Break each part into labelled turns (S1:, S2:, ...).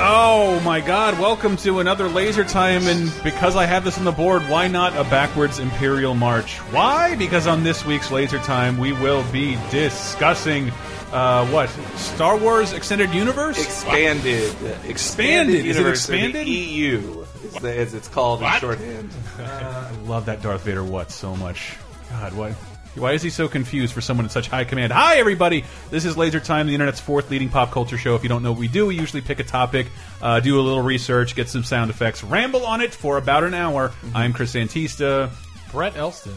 S1: Oh my god, welcome to another laser time and because I have this on the board, why not a backwards imperial march? Why? Because on this week's laser time we will be discussing uh, what? Star Wars Extended Universe?
S2: Expanded. Expanded.
S1: Is it
S2: universe of the
S1: expanded?
S2: EU, is the- as it's called in
S3: What?
S2: shorthand.
S1: I love that Darth Vader what so much. God, what? Why is he so confused for someone in such high command? Hi, everybody! This is Laser Time, the internet's fourth leading pop culture show. If you don't know what we do, we usually pick a topic, uh, do a little research, get some sound effects, ramble on it for about an hour. I'm Chris Antista,
S3: Brett Elston.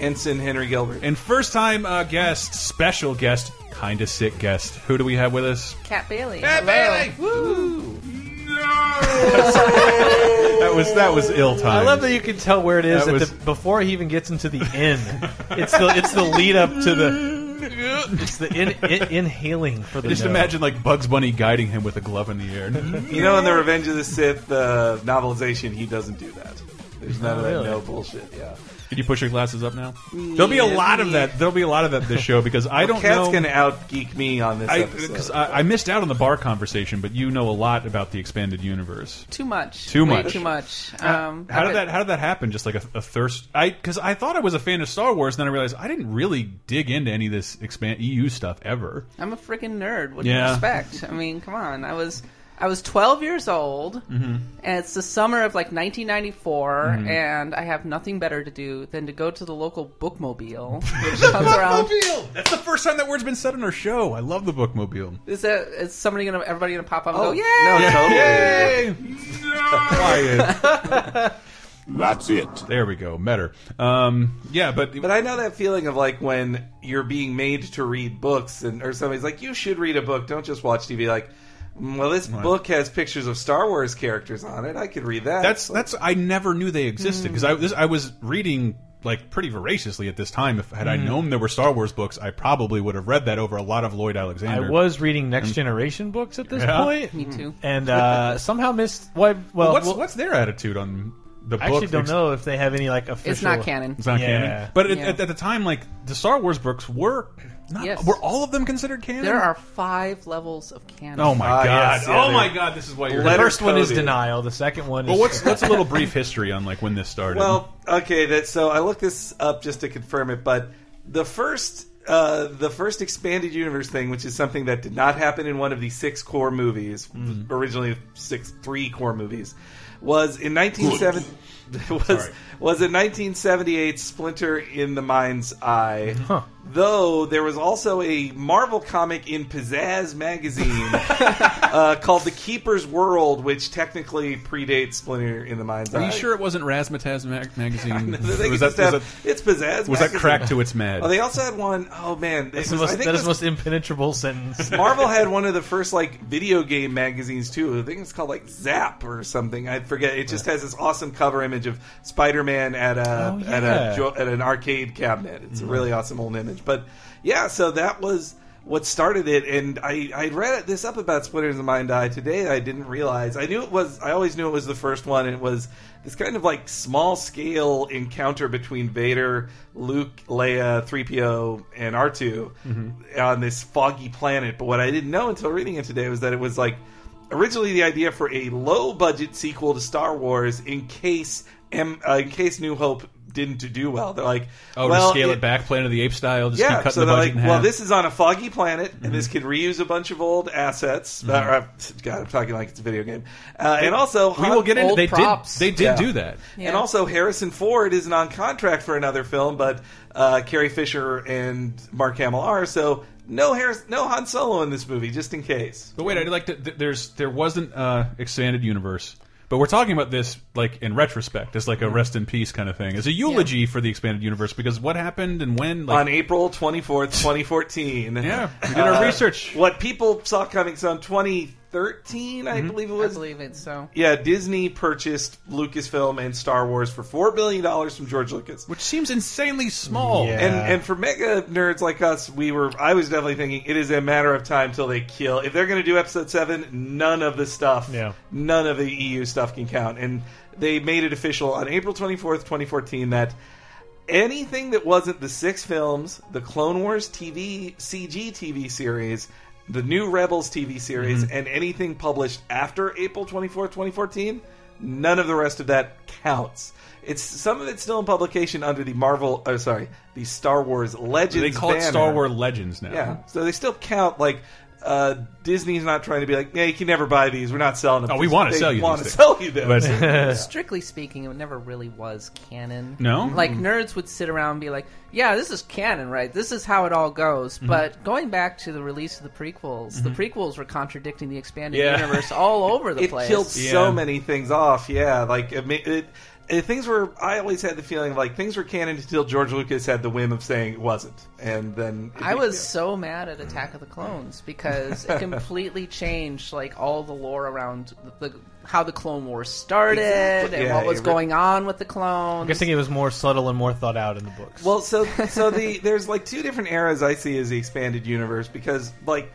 S2: Ensign Henry Gilbert.
S1: and first time uh, guest, special guest, kinda sick guest. Who do we have with us?
S4: Cat Bailey.
S1: That was that was ill time.
S5: I love that you can tell where it is
S1: That
S5: at
S1: was-
S5: the, before he even gets into the inn. It's the it's the lead up to the it's the in, in, inhaling for the
S1: Just
S5: no.
S1: imagine like Bugs Bunny guiding him with a glove in the air.
S2: You know, in the Revenge of the Sith uh, novelization, he doesn't do that. There's none of that
S5: really?
S2: no bullshit. Yeah.
S1: Can you push your glasses up now? There'll be a lot of that. There'll be a lot of that this show because I don't
S2: Cat's
S1: know.
S2: gonna out geek me on this
S1: I,
S2: episode.
S1: cause I, I missed out on the bar conversation, but you know a lot about the expanded universe.
S4: Too much.
S1: Too
S4: Way
S1: much.
S4: Too much. Um,
S1: How
S4: but-
S1: did that? How did that happen? Just like a, a thirst? I because I thought I was a fan of Star Wars, and then I realized I didn't really dig into any of this expand EU stuff ever.
S4: I'm a freaking nerd. What
S1: Yeah.
S4: do you expect? I mean, come on. I was I was 12 years old,
S1: Mm-hmm.
S4: and it's the summer of like 1994, and I have nothing better to do than to go to the local bookmobile, which comes around.
S1: That's the first time that word's been said on our show. I love the bookmobile.
S4: Is that is somebody gonna everybody gonna pop up and
S2: Oh,
S4: go?
S2: yeah.
S4: Yeah.
S2: No, totally.
S1: Yay! Quiet.
S6: That's it.
S1: There we go. Better. Um, yeah, but
S2: But I know that feeling of like when you're being made to read books, and or somebody's like, "You should read a book. Don't just watch TV." Like, "Mm, well, this book has pictures of Star Wars characters on it. I could read that.
S1: That's
S2: Like,
S1: that's I never knew they existed because I this, I was reading like pretty voraciously at this time. If had I known there were Star Wars books, I probably would have read that over a lot of Lloyd
S5: I
S1: Alexander.
S5: was reading Next Generation books at this
S1: Mm-hmm. Yeah.
S5: point.
S4: Me too.
S5: And uh, somehow missed. Why? Well,
S1: what's
S5: well,
S1: what's their attitude on the
S5: I
S1: book?
S5: actually don't
S1: ex-
S5: know if they have any like official.
S4: It's not canon.
S1: It's not
S5: Yeah.
S1: canon, but it,
S4: Yeah.
S1: at, at the time, like the Star Wars books were not
S4: Yes.
S1: were all of them considered canon.
S4: There are five levels of canon.
S1: oh my
S2: Ah,
S1: god,
S2: yes, yeah,
S1: oh my
S2: they're-
S1: god, this is why you're
S5: The
S2: Letter
S5: first one is
S2: coded.
S5: denial. The second one.
S1: Well,
S5: is
S1: what's what's a little brief history on like when this started?
S2: well, okay. That so I looked this up just to confirm it, but the first. Uh, the first expanded universe thing, which is something that did not happen in one of the six core movies,
S1: Mm-hmm.
S2: originally six three core movies, was in 1970 was
S1: Sorry.
S2: was in 1978 Splinter in the Mind's Eye. Though there was also a Marvel comic in Pizzazz magazine uh, called The Keeper's World, which technically predates Splinter in the Mind's
S1: are
S2: Eye.
S1: you sure it wasn't Razzmatazz mag magazine?
S2: They could
S1: was that,
S2: just have-
S1: was that
S2: it's pizzazz.
S1: was that
S2: magazine.
S1: crack to its mad?
S2: Oh, they also had one oh man, it
S5: That's the
S2: was- I
S5: most,
S2: think
S5: that
S2: it
S5: is the
S2: was-
S5: most impenetrable sentence.
S2: Marvel had one of the first like video game magazines too. I think it's called like Zap or something. I forget. It just has this awesome cover image of Spider-Man at uh, a
S5: Oh, yeah. Mm-hmm.
S2: at a jo- at an arcade cabinet. It's a really awesome old image. But yeah, so that was what started it. And I I read this up about Splinters in Mind Eye today. I didn't realize. I knew it was. I always knew it was the first one. and It was this kind of like small scale encounter between Vader, Luke, Leia, 3PO, and R2
S5: Mm-hmm.
S2: on this foggy planet. But what I didn't know until reading it today was that it was like originally the idea for a low budget sequel to Star Wars in case M, uh, in case New Hope didn't do well. They're like,
S1: Oh,
S2: well,
S1: to scale it,
S2: it-
S1: back, Planet of the Apes style, just keep
S2: yeah,
S1: cutting
S2: so
S1: the
S2: they're
S1: budget
S2: like,
S1: in half. Mm-hmm.
S2: well, this is on a foggy planet, and this could reuse a bunch of old assets. Uh, uh, God, I'm talking like it's a video game. Uh, and also,
S1: we will get into
S4: old
S1: they
S4: props.
S1: did they did
S2: Yeah.
S1: do that.
S4: Yeah.
S2: And also, Harrison Ford isn't on contract for another film, but uh, Carrie Fisher and Mark Hamill are. So no Harris, no Han Solo in this movie, just in case.
S1: But wait, I'd like to. th- There's there wasn't uh, expanded universe, but we're talking about this like in retrospect, as like a rest in peace kind of thing, as a eulogy for the expanded universe because what happened and when. Like,
S2: on April 24th, 2014.
S1: yeah, we did our
S2: Uh,
S1: research.
S2: What people saw coming, so in 2013,
S1: Mm-hmm.
S2: I believe it
S4: I
S2: was.
S4: believe it. So
S2: Yeah, Disney purchased Lucasfilm and Star Wars for $4 billion from George Lucas.
S1: Which seems insanely small.
S5: Yeah.
S2: And and for mega nerds like us, we were I was definitely thinking it is a matter of time till they kill. If they're going to do episode 7, none of the stuff,
S5: Yeah.
S2: none of the EU stuff can count. And they made it official on April 24th, 2014 that anything that wasn't the six films, the Clone Wars TV CG TV series the new Rebels TV series,
S1: Mm-hmm.
S2: and anything published after April 24, 2014, none of the rest of that counts. It's some of it's still in publication under the Marvel, oh sorry, the Star Wars Legends.
S1: They call it
S2: banner.
S1: Star Wars Legends now.
S2: Yeah, so they still count. Like uh, Disney's not trying to be like, yeah, you can never buy these. We're not selling them.
S1: Oh, we wanna
S2: They
S1: sell you
S2: wanna
S1: these things.
S2: sell you them.
S1: But
S4: Strictly speaking, it never really was canon.
S1: No?
S4: Like, nerds would sit around and be like, yeah, this is canon, right? This is how it all goes. But going back to the release of the prequels, the prequels were contradicting the expanded
S1: Yeah.
S4: universe all over the
S2: it
S4: place.
S2: killed
S1: Yeah.
S2: so many things off. Yeah, like it, ma- it, it, things were. I always had the feeling of, like things were canon until George Lucas had the whim of saying it wasn't, and then it
S4: I
S2: be-
S4: was so mad at Attack of the Clones because it completely changed like all the lore around the, the how the Clone Wars started
S2: Exactly.
S4: and
S2: Yeah,
S4: what was
S2: it re-
S4: going on with the clones.
S5: I think it was more subtle and more thought out in the books.
S2: Well, so so the there's like two different eras I see as the expanded universe because like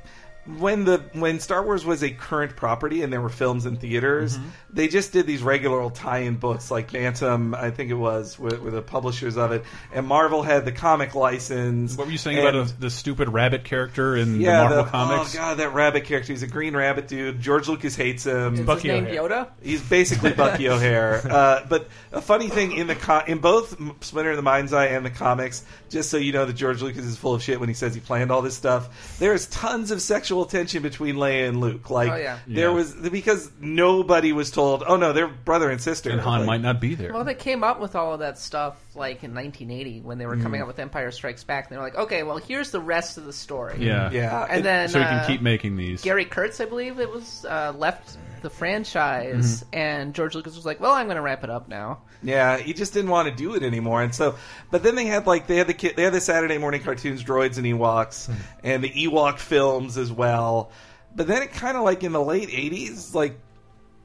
S2: when the when Star Wars was a current property and there were films in theaters,
S4: Mm-hmm.
S2: they just did these regular old tie-in books like Bantam, I think it was, were, were the publishers of it, and Marvel had the comic license.
S1: what were you saying
S2: and-
S1: about a, the stupid rabbit character in the
S2: yeah,
S1: Marvel
S2: the-
S1: comics?
S2: Oh god, that rabbit character. He's a green rabbit dude. George Lucas hates him.
S4: Is
S5: Bucky
S4: his name
S5: O'Hare.
S4: Yoda.
S2: He's basically Bucky O'Hare. Uh, but a funny thing in the co in both M- Splinter in the Mind's Eye and the comics, just so you know that George Lucas is full of shit when he says he planned all this stuff. There is tons of sexual tension between Leia and Luke. Like
S4: Oh, yeah.
S2: there
S1: Yeah.
S2: was because nobody was told. Oh no, they're brother and sister.
S1: and Han
S2: Like,
S1: might not be there.
S4: Well, they came up with all of that stuff like in 1980 when they were
S1: Mm.
S4: coming up with Empire Strikes Back. And they were like, okay, well, here's the rest of the story.
S1: yeah,
S2: Yeah,
S4: and
S2: It-
S4: then
S1: So we can
S4: uh,
S1: keep making these.
S4: Gary Kurtz, I believe it was, uh, left the franchise,
S1: Mm-hmm.
S4: and George Lucas was like, well, I'm going to wrap it up now.
S2: Yeah, he just didn't want to do it anymore, and so. But then they had like they had the kid, they had the Saturday morning cartoons, droids and
S1: Hmm.
S2: Ewoks, and the Ewok films as well. But then it kind of like in the late '80s, like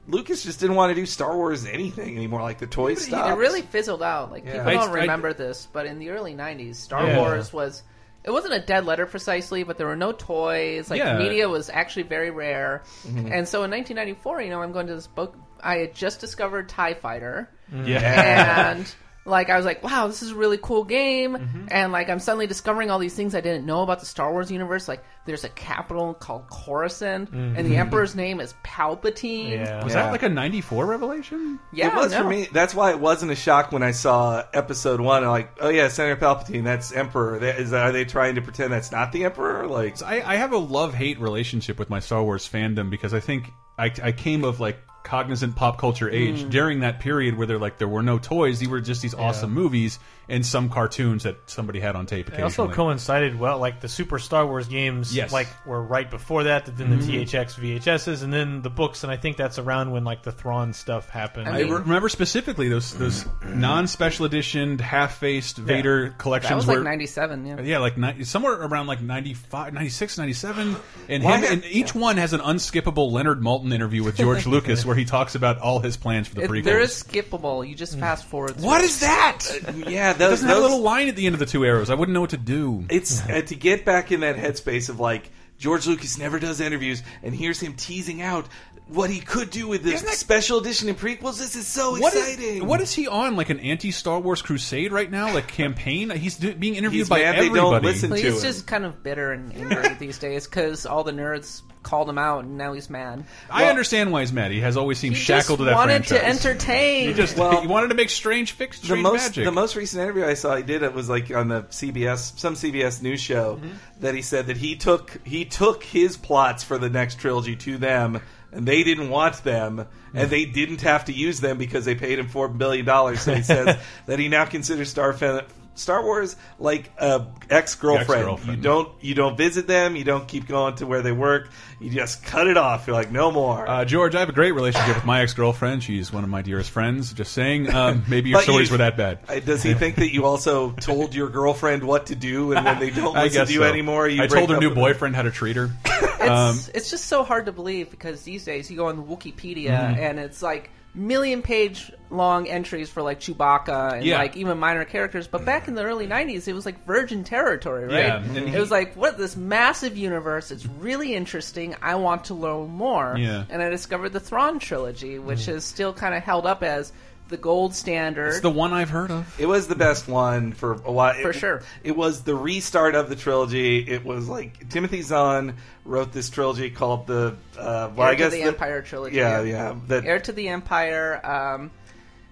S2: Lucas just didn't want to do Star Wars anything anymore. Like the toy
S4: It
S2: stuff,
S4: really fizzled out. Like
S2: Yeah.
S4: people
S1: I-
S4: don't
S1: I-
S4: remember this, but in the early '90s, Star
S5: Yeah.
S4: Wars was. It wasn't a dead letter precisely, but there were no toys. Like
S1: Yeah. Mm-hmm.
S4: media was actually very rare, and so in 1994, you know, I'm going to this book. I had just discovered Tie Fighter,
S1: yeah.
S4: and like I was like, wow, this is a really cool game,
S1: Mm-hmm.
S4: and like I'm suddenly discovering all these things I didn't know about the Star Wars universe. Like there's a capital called Coruscant, and
S1: Mm-hmm.
S4: the Emperor's name is Palpatine.
S5: yeah.
S1: Was
S2: Yeah.
S1: that like a '94 revelation?
S4: Yeah,
S2: it was
S4: no.
S2: for me. That's why it wasn't a shock when I saw Episode One. I'm like, oh yeah, Senator Palpatine, that's Emperor. That is, are they trying to pretend that's not the Emperor? Like,
S1: I, I have a love hate relationship with my Star Wars fandom because I think I, I came of like cognizant pop culture age
S4: Mm.
S1: during that period where there like there were no toys. These were just these awesome movies and some cartoons that somebody had on tape
S5: It
S1: occasionally.
S5: also coincided well, like the Super Star Wars games,
S1: Yes. Mm-hmm.
S5: like were right before that. Then the THX VHSs, and then the books, and I think that's around when like the Thrawn stuff happened.
S1: I re- remember specifically those those
S2: Mm.
S1: non special edition half faced Vader collections
S4: That was
S1: were
S4: like '97. Yeah.
S1: Uh, yeah like ni- somewhere around like 95 96 97 and,
S2: Why
S1: him,
S2: not-
S1: and each one has an unskippable Leonard Malton interview with George Lucas where he talks about all his plans for the
S4: It,
S1: prequels. Mm.
S4: there is skippable. You just fast forward. through
S1: what
S4: it.
S1: is that?
S2: Uh, yeah, those,
S1: doesn't have a
S2: those-
S1: little line at the end of the two arrows. I wouldn't know what to do.
S2: it's uh, to get back in that headspace of like George Lucas never does interviews, and here's him teasing out what he could do with this
S1: Isn't that-
S2: special edition and prequels. This is so
S1: What is,
S2: exciting.
S1: what is he on? Like an anti Star Wars crusade right now? Like campaign? He's do, being interviewed
S2: He's
S1: by
S2: mad they
S1: everybody.
S2: don't listen
S4: Well,
S2: to
S4: he's
S2: him.
S4: just kind of bitter and angry these days because all the nerds called him out, and now he's mad.
S1: I understand why he's mad. He has always seemed
S4: He
S1: shackled to
S4: just
S1: that
S4: wanted
S1: franchise.
S4: to entertain.
S1: He just
S2: Well,
S1: he wanted to make strange fix,
S2: the
S1: strange
S2: most
S1: magic.
S2: the most recent interview I saw he did it was like on the CBS some CBS news show
S1: Mm-hmm.
S2: that he said that he took he took his plots for the next trilogy to them and they didn't want them and they didn't have to use them because they paid him four billion dollars. So he says that he now considers Star Fan- Star Wars like a ex girlfriend.
S1: Ex-girlfriend.
S2: You don't you don't visit them. You don't keep going to where they work. You just cut it off. You're like no more.
S1: uh, George, I have a great relationship with my ex girlfriend. She's one of my dearest friends. Just saying, um, maybe your
S2: But
S1: stories
S2: you-
S1: were that bad.
S2: I- Uh, Does he think that you also told your girlfriend what to do, and when they don't
S1: I
S2: listen
S1: guess
S2: to you
S1: so.
S2: anymore, you
S1: I
S2: break
S1: told her
S2: up
S1: new
S2: with them?
S1: boyfriend how to treat her.
S4: it's,
S1: Um,
S4: it's just so hard to believe because these days you go on Wikipedia
S1: Mm-hmm.
S4: and it's like million page long entries for like Chewbacca and
S1: Yeah.
S4: like even minor characters. But back in the early '90s, it was like virgin territory, right?
S1: Yeah, and he-
S4: it was like what this massive universe. It's really interesting. I want to learn more.
S1: Yeah. Mm.
S4: and I discovered the Thrawn trilogy, which is still kind of held up as. the gold standard.
S1: It's the one I've heard of.
S2: It was the best one for a while.
S4: For
S2: It-
S4: sure.
S2: It was the restart of the trilogy. It was like Timothy Zahn wrote this trilogy called the uh, well,
S4: Heir
S2: I guess
S4: to the, Empire trilogy.
S2: Yeah, yeah. That
S4: Heir to the Empire. Um,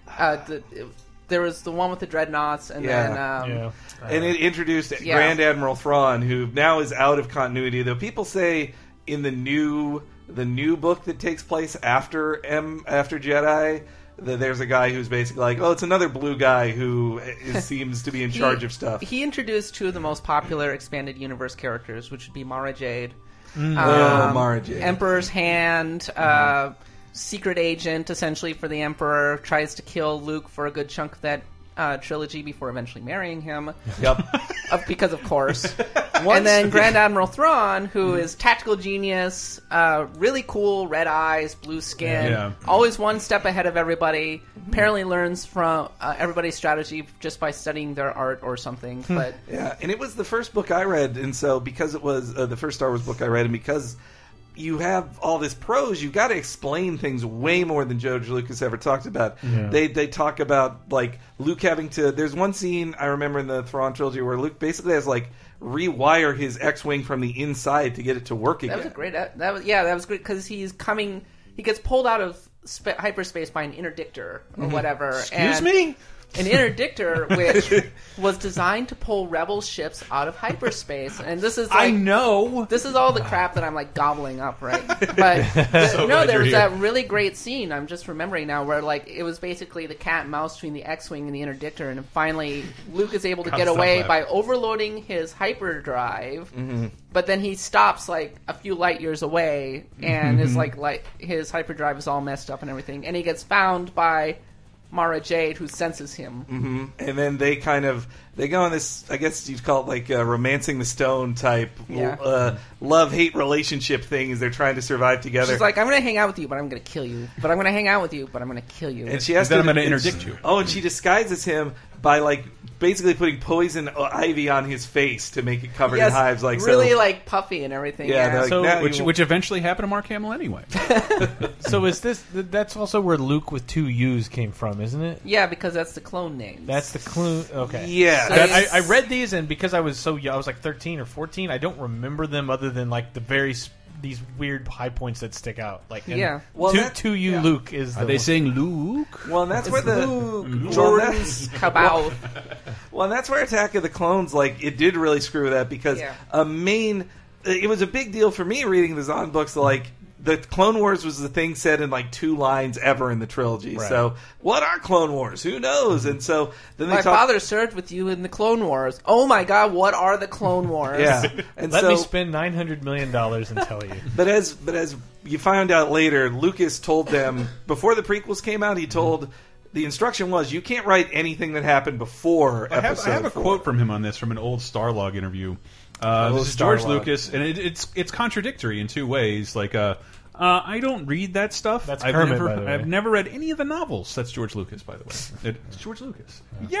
S4: uh, the, it- there was the one with the dreadnoughts, and
S2: Yeah.
S4: then um,
S5: Yeah.
S2: and it introduced
S4: Yeah.
S2: Grand Admiral Thrawn, who now is out of continuity. Though people say in the new the new book that takes place after M after Jedi. That there's a guy who's basically like, oh, it's another blue guy who is, seems to be in
S4: he-
S2: charge of stuff.
S4: He introduced two of the most popular expanded universe characters, which would be Mara Jade, Um,
S2: Oh, Mara Jade. Mm-hmm.
S4: Emperor's Hand. Uh, Secret agent, essentially for the Emperor, tries to kill Luke for a good chunk of that uh, trilogy before eventually marrying him.
S2: yep.
S4: of, because of course. and then Grand Admiral Thrawn, who is tactical genius, uh, really cool, red eyes, blue skin,
S1: Yeah.
S4: always one step ahead of everybody. Apparently learns from uh, everybody's strategy just by studying their art or something.
S5: Hmm.
S4: But
S2: Yeah, and it was the first book I read, and so because it was uh, the first Star Wars book I read, and because you have all this prose, you've got to explain things way more than George Lucas ever talked about. They they talk about like Luke having to. There's one scene I remember in the Thrawn trilogy where Luke basically has like rewire his X-wing from the inside to get it to work again.
S4: that was a great. That, that was yeah, that was great because he's coming. He gets pulled out of sp- hyperspace by an interdictor or whatever.
S5: Mm-hmm. Excuse
S4: and-
S5: me.
S4: an interdictor which was designed to pull rebel ships out of hyperspace and this is like,
S1: know.
S4: this is all the crap that I'm like gobbling up right but the- no
S1: glad
S4: there
S1: you're
S4: was
S1: here.
S4: that really great scene I'm just remembering now where like it was basically the cat and mouse between the X-wing and the interdictor and finally Luke is able to
S1: God,
S4: get
S1: stop
S4: away
S1: laughing. Mm-hmm.
S4: by overloading his hyperdrive but then he stops like a few light years away and
S1: Mm-hmm.
S4: is like like his hyperdrive is all messed up and everything and he gets found by Mara Jade, who senses him,
S1: Mm-hmm.
S2: Mm-hmm. and then they kind of they go on this i guess you'd call it like a romancing the stone type
S4: Yeah.
S2: uh, love hate relationship thing as they're trying to survive together
S4: She's like, I'm gonna hang out with you, but I'm gonna kill you. But I'm gonna hang out with you, but I'm gonna kill you.
S2: and she has
S1: Then
S2: to
S1: I'm going to
S2: it's-
S1: interdict you.
S2: Oh, and she disguises him by like basically putting poison ivy on his face to make it covered in hives, like
S4: really
S2: so.
S4: like puffy and everything.
S2: yeah,
S4: Yeah,
S2: they're like,
S5: So-
S2: "Now
S1: Which,
S2: you-
S1: which eventually happened to Mark Hamill anyway.
S5: So is this? th- That's also where Luke with two U's came from, isn't it?
S4: yeah, because that's the clone name.
S5: That's the clue. Okay.
S2: yeah,
S4: So
S5: That-
S2: that's-
S4: it's-
S5: I, I read these, and because I was so young, I was like 13 or 14. I don't remember them other than like the very sp- these weird high points that stick out. Like and
S4: Yeah.
S2: Well,
S5: two,
S2: that-
S5: two you Luke is the
S1: Are they
S5: one.
S1: saying Luke?
S2: well, and that's where the Mm-hmm. well,
S4: Jordan
S2: that's,
S4: Cabal.
S2: well, and that's where Attack of the Clones like it did really screw that because
S4: Yeah.
S2: a main it was a big deal for me reading the Zon books like. The Clone Wars was the thing said in like two lines ever in the trilogy.
S5: Right.
S2: So, what are Clone Wars? Who knows? And so then they
S4: My
S2: talk.
S4: father served with you in the Clone Wars. Oh my God, what are the Clone Wars?
S2: yeah, and
S5: Let
S2: so,
S5: me spend 900 million dollars and tell you.
S2: But as but as you found out later, Lucas told them before the prequels came out. He told the instruction was you can't write anything that happened before
S1: I have,
S2: episode.
S1: I have a
S2: four."
S1: quote from him on this from an old Starlog interview. Uh,
S2: Oh,
S1: this is George
S2: Starlog.
S1: Lucas, and it, it's it's contradictory in two ways. Like, uh, uh, I don't read that stuff.
S5: That's
S1: I've
S5: Kermit,
S1: never,
S5: by the way.
S1: I've never read any of the novels. That's George Lucas, by the way. It- It's George Lucas.
S5: If
S1: Yay!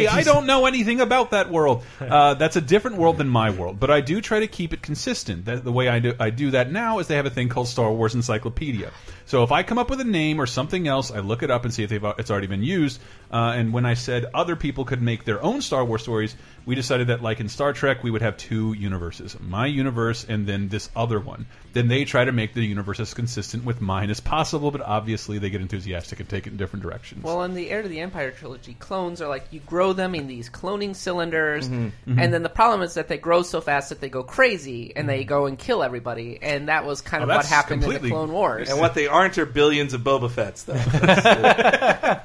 S5: he's- if
S1: I
S5: he's-
S1: don't know anything about that world. Uh, that's a different world than my world, but I do try to keep it consistent. That, the way I do, I do that now is they have a thing called Star Wars Encyclopedia. So if I come up with a name or something else, I look it up and see if they've, it's already been used. Uh, and when I said other people could make their own Star Wars stories, we decided that, like in Star Trek, we would have two universes my universe and then this other one. Then they try to make the universe as consistent with mine as possible, but obviously they get enthusiastic and take it in different directions.
S4: Well, in the Heir to the Empire trilogy, clones are like you grow them in these cloning cylinders,
S2: Mm-hmm,
S4: and then the problem is that they grow so fast that they go crazy and they go and kill everybody, and that was kind
S1: Oh,
S4: of what
S1: that's
S4: happened in the
S1: completely-
S4: Clone Wars.
S2: And what they aren't are billions of Boba Fett's though.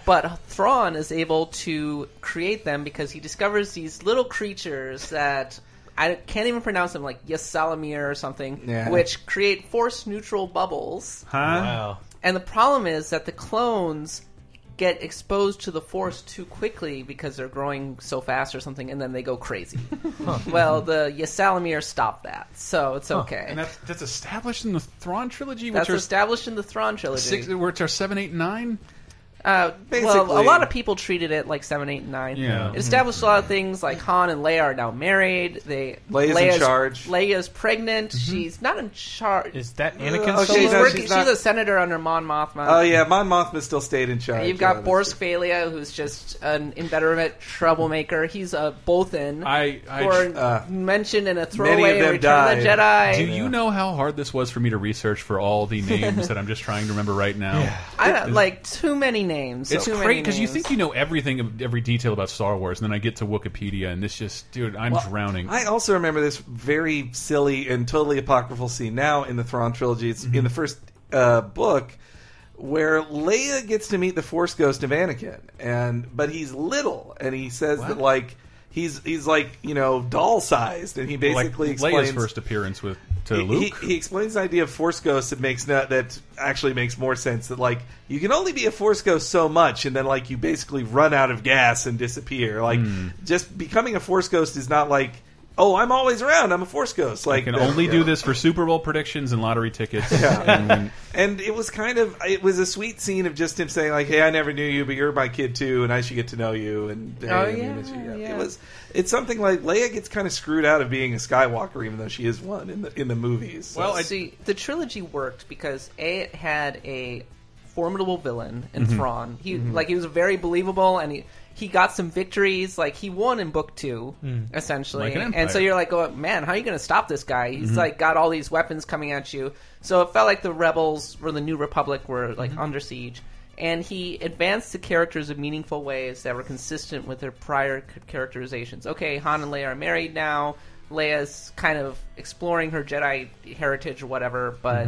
S4: But Thrawn is able to create them because he discovers these little creatures that I can't even pronounce them, like Yasalamir or something,
S2: Yeah.
S4: which create force neutral bubbles.
S1: huh?
S5: Wow.
S4: And the problem is that the clones get exposed to the force too quickly because they're growing so fast or something, and then they go crazy. Well, the Yasalamir stop that, so it's okay.
S1: And that's, that's established in the Thrawn trilogy, which
S4: That's
S1: are
S4: established in the Thrawn trilogy.
S1: six, which are seven, eight, nine.
S4: Uh, well, a
S2: Basically-
S4: lot of people treated it like seven, eight, and nine.
S1: Yeah.
S4: It established a lot of things like Han and Leia are now married. They
S2: Leia's in charge.
S4: Leia's pregnant.
S1: Mm-hmm.
S4: She's not in charge.
S5: Is that Anakin?
S2: okay,
S5: Solo?
S4: she's,
S2: no, Uh,
S4: working,
S2: oh, she's
S4: she's,
S2: not-
S4: a senator under Mon Mothma.
S2: Oh yeah, Mon Mothma still stayed in charge.
S4: You've
S2: Yeah,
S4: got
S2: that's
S4: Boris Valia, who's just an inveterate troublemaker. He's uh, a Bothan.
S1: I, I
S4: or
S2: uh,
S4: mentioned in a
S2: many
S4: throwaway
S2: of them
S4: Return of the Jedi.
S1: Do you know how hard this was for me to research for all the names that I'm just trying to remember right now?
S4: I don't, like too many names.
S1: It's
S4: too
S1: great because you think you know everything, every detail about Star Wars, and then I get to Wikipedia, and this just, dude, I'm drowning.
S2: I also remember this very silly and totally apocryphal scene now in the Thrawn trilogy. It's
S1: Mm-hmm.
S2: in the first uh, book where Leia gets to meet the Force ghost of Anakin, and but he's little, and he says that like he's he's like you know doll sized, and he
S1: like
S2: basically
S1: Leia's
S2: explains
S1: first appearance with to
S2: he-
S1: Luke.
S2: He, he explains the idea of force ghosts that makes not, that actually makes more sense. That like you can only be a force ghost so much, and then like you basically run out of gas and disappear. Like
S1: Hmm.
S2: just becoming a force ghost is not like oh I'm always around. I'm a force ghost. Like
S1: I can
S2: the-
S1: only
S2: yeah.
S1: do this for Super Bowl predictions and lottery tickets. And when-
S2: And it was kind of it was a sweet scene of just him saying like hey I never knew you, but you're my kid too, and I should get to know you. And hey,
S4: Oh,
S2: I mean,
S4: yeah,
S2: it's-
S4: yeah.
S2: it was it's something like Leia gets kind of screwed out of being a Skywalker, even though she is one in the in the movies. So.
S1: Well, I-
S4: See, the trilogy worked because a it had a formidable villain in
S1: Mm-hmm.
S4: Thrawn. He like he was very believable, and he he got some victories. Like he won in book two, essentially.
S1: Mm. Like an
S4: and so
S1: empire.
S4: you're like, oh man, how are you going to stop this guy? He's like got all these weapons coming at you. So it felt like the rebels or the New Republic were like under siege. And he advanced the characters in meaningful ways that were consistent with their prior c- characterizations. Okay, Han and Leia are married now. Leia's kind of exploring her Jedi heritage or whatever, but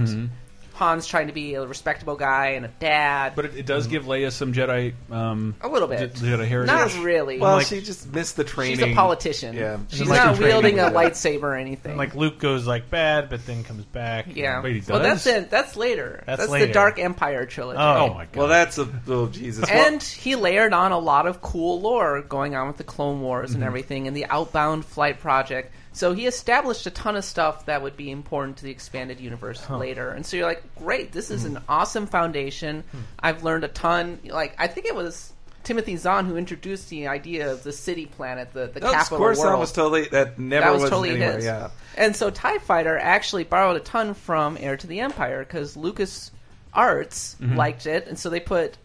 S4: Han's trying to be a respectable guy and a dad.
S1: but it, it does give Leia some Jedi. Um,
S4: a little bit.
S1: J- Jedi heritage.
S4: Not really.
S2: Well,
S5: Like-
S2: she just missed the training.
S4: She's a politician.
S2: Yeah.
S4: She's
S5: And like
S4: not
S5: the training.
S4: wielding a lightsaber or anything.
S5: And, like Luke goes like bad, but then comes back.
S4: yeah.
S1: Wait, he
S4: Well, that's
S1: does?
S4: it. That's later.
S5: That's
S4: the
S5: later.
S4: Dark Empire trilogy.
S1: oh my god!
S2: Well, that's a oh Jesus. Well,
S4: And he layered on a lot of cool lore going on with the Clone Wars and everything and the Outbound Flight Project. So he established a ton of stuff that would be important to the expanded universe later. And so you're like, great, this is an awesome foundation. I've learned a ton. Like, I think it was Timothy Zahn who introduced the idea of the city planet, the, the
S2: no,
S4: capital
S2: Coruscant
S4: world.
S2: was totally that never
S4: that was,
S2: was
S4: totally
S2: anywhere,
S4: his.
S2: Yeah,
S4: And so TIE Fighter actually borrowed a ton from Heir to the Empire because Lucas Arts
S2: Mm-hmm.
S4: liked it, and so they put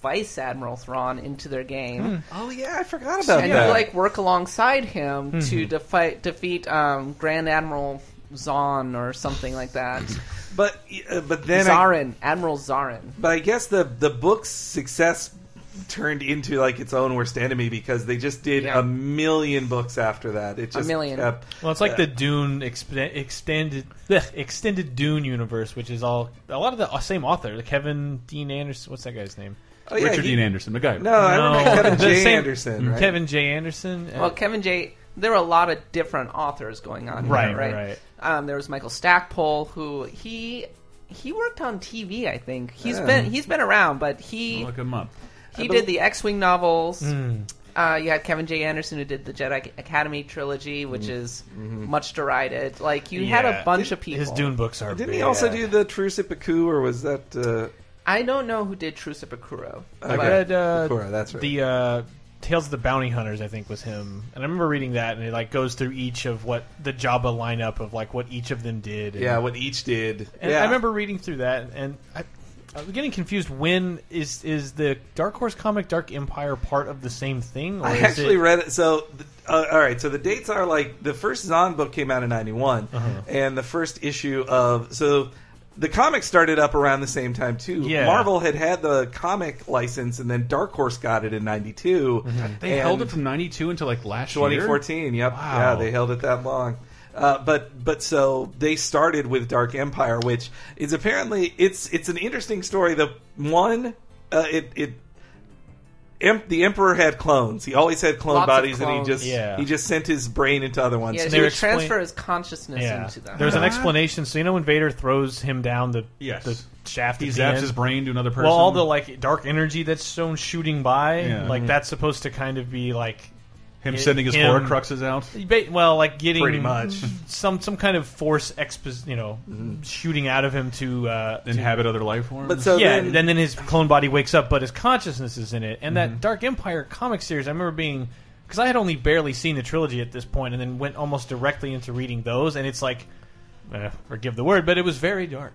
S4: Vice Admiral Thrawn into their game.
S2: oh yeah, I forgot about
S4: And
S2: that.
S4: you like work alongside him to
S2: Mm-hmm.
S4: defi- defeat um, Grand Admiral Zahn or something like that.
S2: but uh, but then I,
S4: Zarin, Admiral Zarin.
S2: but I guess the the book's success turned into like its own worst enemy because they just did
S4: Yeah.
S2: a million books after that. It just
S4: million.
S2: kept-
S5: Well, it's like the Dune exp- extended blech, extended Dune universe, which is all a lot of the uh, same author, the Kevin Dean Anderson. What's that guy's name?
S2: oh, yeah,
S1: Richard
S2: he-
S1: Dean Anderson, the guy.
S2: No, Oh, I remember Kevin
S5: the
S2: J.
S5: same-
S2: Anderson. Right?
S5: Kevin J. Anderson. uh,
S4: Well, Kevin J. There were a lot of different authors going on, here,
S5: Right,
S4: right?
S5: right.
S4: Um, there was Michael Stackpole, who he he worked on TV. I think he's
S2: Yeah.
S4: been he's been around, but he
S1: Look him up.
S4: he did the X-wing novels.
S5: Hmm.
S4: Uh, you had Kevin J. Anderson who did the Jedi Academy trilogy, which is much derided. Like you had
S5: Mm-hmm. yeah.
S4: a bunch of people.
S5: His Dune books are.
S2: Didn't
S5: bad.
S2: he also do the Truce at Baku, or was that? Uh,
S4: I don't know who did True Sepakuro.
S5: I
S2: Okay.
S5: read uh,
S2: Bakura, that's right.
S5: the uh, Tales of the Bounty Hunters. I think was him, and I remember reading that, and it like goes through each of what the Jabba lineup of like what each of them did. and-
S2: yeah, what each did.
S5: And
S2: yeah,
S5: I remember reading through that, and I, I was getting confused. When is is the Dark Horse comic Dark Empire part of the same thing? Or
S2: I
S5: is
S2: actually
S5: it,
S2: read it. So, th- uh, all right. So the dates are like the first Zahn book came out in '91,
S5: Uh-huh.
S2: and the first issue of so the comic started up around the same time too.
S5: Yeah.
S2: Marvel had had the comic license, and then Dark Horse got it in '92.
S5: Mm-hmm.
S1: They
S2: and
S1: held it from '92 until like last year.
S2: 2014. Yep.
S1: Wow.
S2: Yeah, they held it that long. Uh, but but so they started with Dark Empire, which is apparently it's it's an interesting story. The one uh, it it. Em- the emperor had clones. He always had clone
S4: Lots of
S2: bodies, and
S4: clones.
S2: he just
S5: Yeah.
S2: he just sent his brain into other ones.
S4: Yeah,
S2: And
S4: he
S5: they
S4: would
S5: were explain-
S4: transfer his consciousness
S5: Yeah,
S4: into them.
S5: there's an
S1: Huh?
S5: explanation. So you know when Vader throws him down the
S1: Uh-huh. Yes.
S5: the shaft,
S1: He
S5: at the
S1: zaps
S5: end?
S1: his brain to another person.
S5: Well, all the like dark energy that's shown shooting by,
S1: Yeah.
S5: like
S1: Mhm.
S5: that's supposed to kind of be like
S1: Him
S5: It-
S1: sending his
S5: him-
S1: horror cruxes out.
S5: Ba- Well, like getting
S2: Pretty much.
S5: some some kind of force expo- you know
S2: Mm-hmm.
S5: shooting out of him to uh, to-
S1: Inhabit other life forms.
S2: But so
S5: yeah,
S2: then,
S5: and then, his clone body wakes up, but his consciousness is in it. And that Dark Empire comic series, I remember being because I had only barely seen the trilogy at this point, and then went almost directly into reading those. And it's like, eh, forgive the word, but it was very dark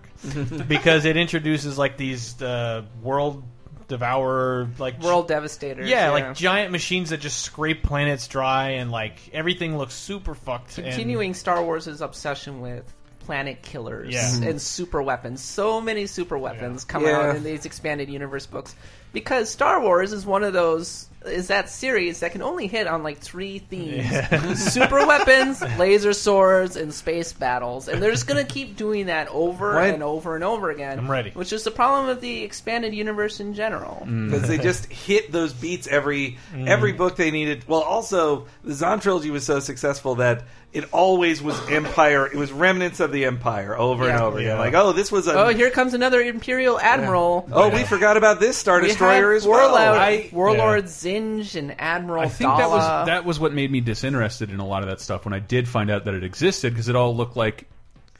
S5: because it introduces like these uh, world devourer like
S4: World Devastators.
S5: yeah, like giant machines that just scrape planets dry, and like everything looks super fucked. and-
S4: continuing Star Wars' obsession with planet killers
S5: Yeah. Mhm.
S4: and super weapons. So many super weapons come
S2: Yeah.
S4: out in these expanded universe books because Star Wars is one of those is that series that can only hit on like three themes: super weapons, laser swords, and space battles. And they're just gonna keep doing that over
S2: Right.
S4: and over and over again.
S5: I'm ready.
S4: Which is the problem with the expanded universe in general.
S2: because they just hit those beats every
S5: Mm.
S2: every book they needed. Well, also the Zon trilogy was so successful that it always was Empire. It was remnants of the Empire over and
S4: Yeah.
S2: over again.
S5: Yeah.
S2: Like, oh, this was a
S4: Oh, here comes another Imperial admiral.
S2: oh, we forgot about this Star
S4: We
S2: Destroyer
S4: had
S2: as well.
S4: Warlord,
S2: I-
S4: Warlord Zinj and Admiral
S1: I think that was
S4: Dala.
S1: that was what made me disinterested in a lot of that stuff when I did find out that it existed because it all looked like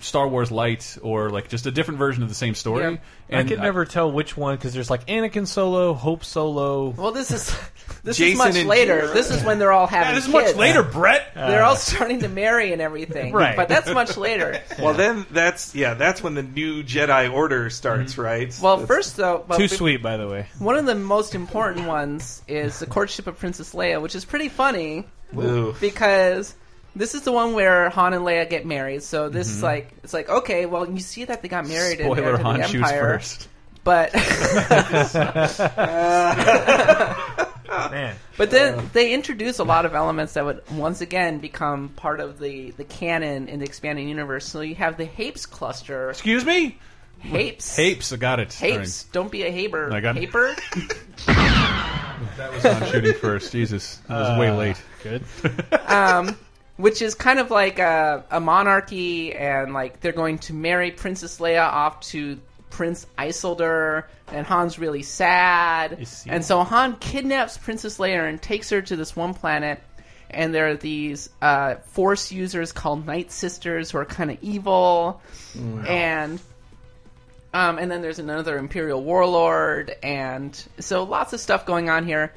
S1: Star Wars Light or like just a different version of the same story.
S4: Yeah.
S1: And
S5: I could never tell which one because there's like Anakin Solo, Hope Solo.
S4: Well, this is this
S2: Jason
S4: is much
S2: and
S4: later.
S2: Jared.
S4: This is when they're all having.
S1: That is
S4: kids.
S1: much later, Brett.
S5: Uh,
S4: They're all starting to marry and everything.
S5: Right.
S4: But that's much later.
S2: Well, then that's yeah, that's when the new Jedi Order starts, right?
S4: Well,
S2: That's-
S4: first though, well,
S5: Too
S4: be-
S5: sweet, by the way.
S4: one of the most important ones is the courtship of Princess Leia, which is pretty funny
S2: Ooh.
S4: because this is the one where Han and Leia get married. So this is like it's like okay, well you see that they got married in Heir
S1: Mm-hmm. Spoiler:
S4: to
S1: Han
S4: the
S1: shoots
S4: Empire,
S1: first.
S4: but.
S5: Man,
S4: But then they introduce a lot of elements that would once again become part of the, the canon in the expanding universe. So you have the Hapes cluster.
S1: Excuse me.
S4: Hapes.
S1: Hapes, I got it.
S4: Hapes. Don't be a Haber.
S1: I got it.
S4: Haper.
S1: All right. Han shooting first. Jesus, I was way late.
S5: good.
S4: Which is kind of like a, a monarchy, and like they're going to marry Princess Leia off to Prince Isildur, and Han's really sad.
S5: Isildur.
S4: And so Han kidnaps Princess Leia and takes her to this one planet. And there are these uh, force users called Night Sisters who are kind of evil. and um, and then there's another imperial warlord and so lots of stuff going on here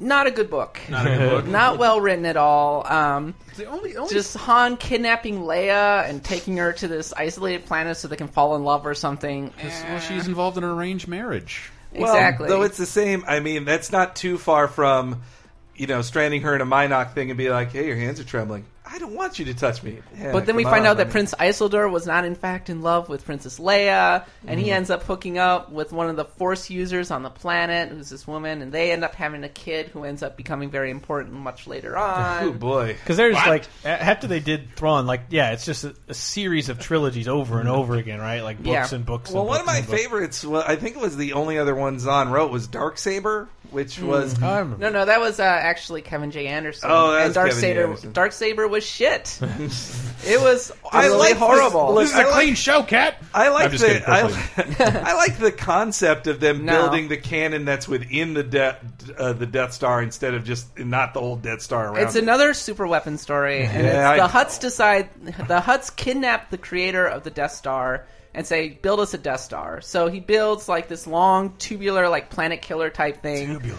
S4: not a good book not, well written at all um,
S1: The only, only
S4: just han kidnapping leia and taking her to this isolated planet so they can fall in love or something
S1: well, she's involved in an arranged marriage.
S2: Well,
S4: exactly
S2: Though it's the same. I mean, that's not too far from, you know, stranding her in a Minoc thing and be like, "Hey, your hands are trembling. I don't want you to touch me." Yeah,
S4: but then we
S2: come
S4: find
S2: on.
S4: out that Prince Isildur was not, in fact, in love with Princess Leia, and he ends up hooking up with one of the Force users on the planet, who's this woman, and they end up having a kid who ends up becoming very important much later on.
S2: Oh boy.
S5: Because there's like a- after they did Thrawn, like yeah, it's just a, a series of trilogies over and over again, right? Like books
S4: Yeah.
S5: and books.
S2: Well,
S5: and
S2: one
S5: books
S2: of my
S5: and books.
S2: favorites. Well, I think it was the only other one Zahn wrote was Dark Saber, which was
S5: I remember.
S4: No, no, that was uh, actually Kevin J. Anderson.
S2: Oh, that was
S4: and Dark
S2: Kevin J. Anderson.
S4: Saber. Dark Saber was shit. it was
S2: I
S4: utterly
S2: like this-
S4: horrible.
S2: look-
S1: This is a
S2: I like-
S1: clean show, cat.
S2: I like
S1: I'm just
S2: the
S1: kidding,
S2: I,
S1: first
S2: I like the concept of them
S4: No.
S2: building the cannon that's within the de- uh, the Death Star instead of just not the whole Death Star around.
S4: it's
S2: it.
S4: another super weapon story, and
S2: Yeah,
S4: it's
S2: I-
S4: the Huts decide the Huts kidnap the creator of the Death Star and say, "Build us a Death Star." So he builds like this long tubular, like planet killer type thing. Tubular.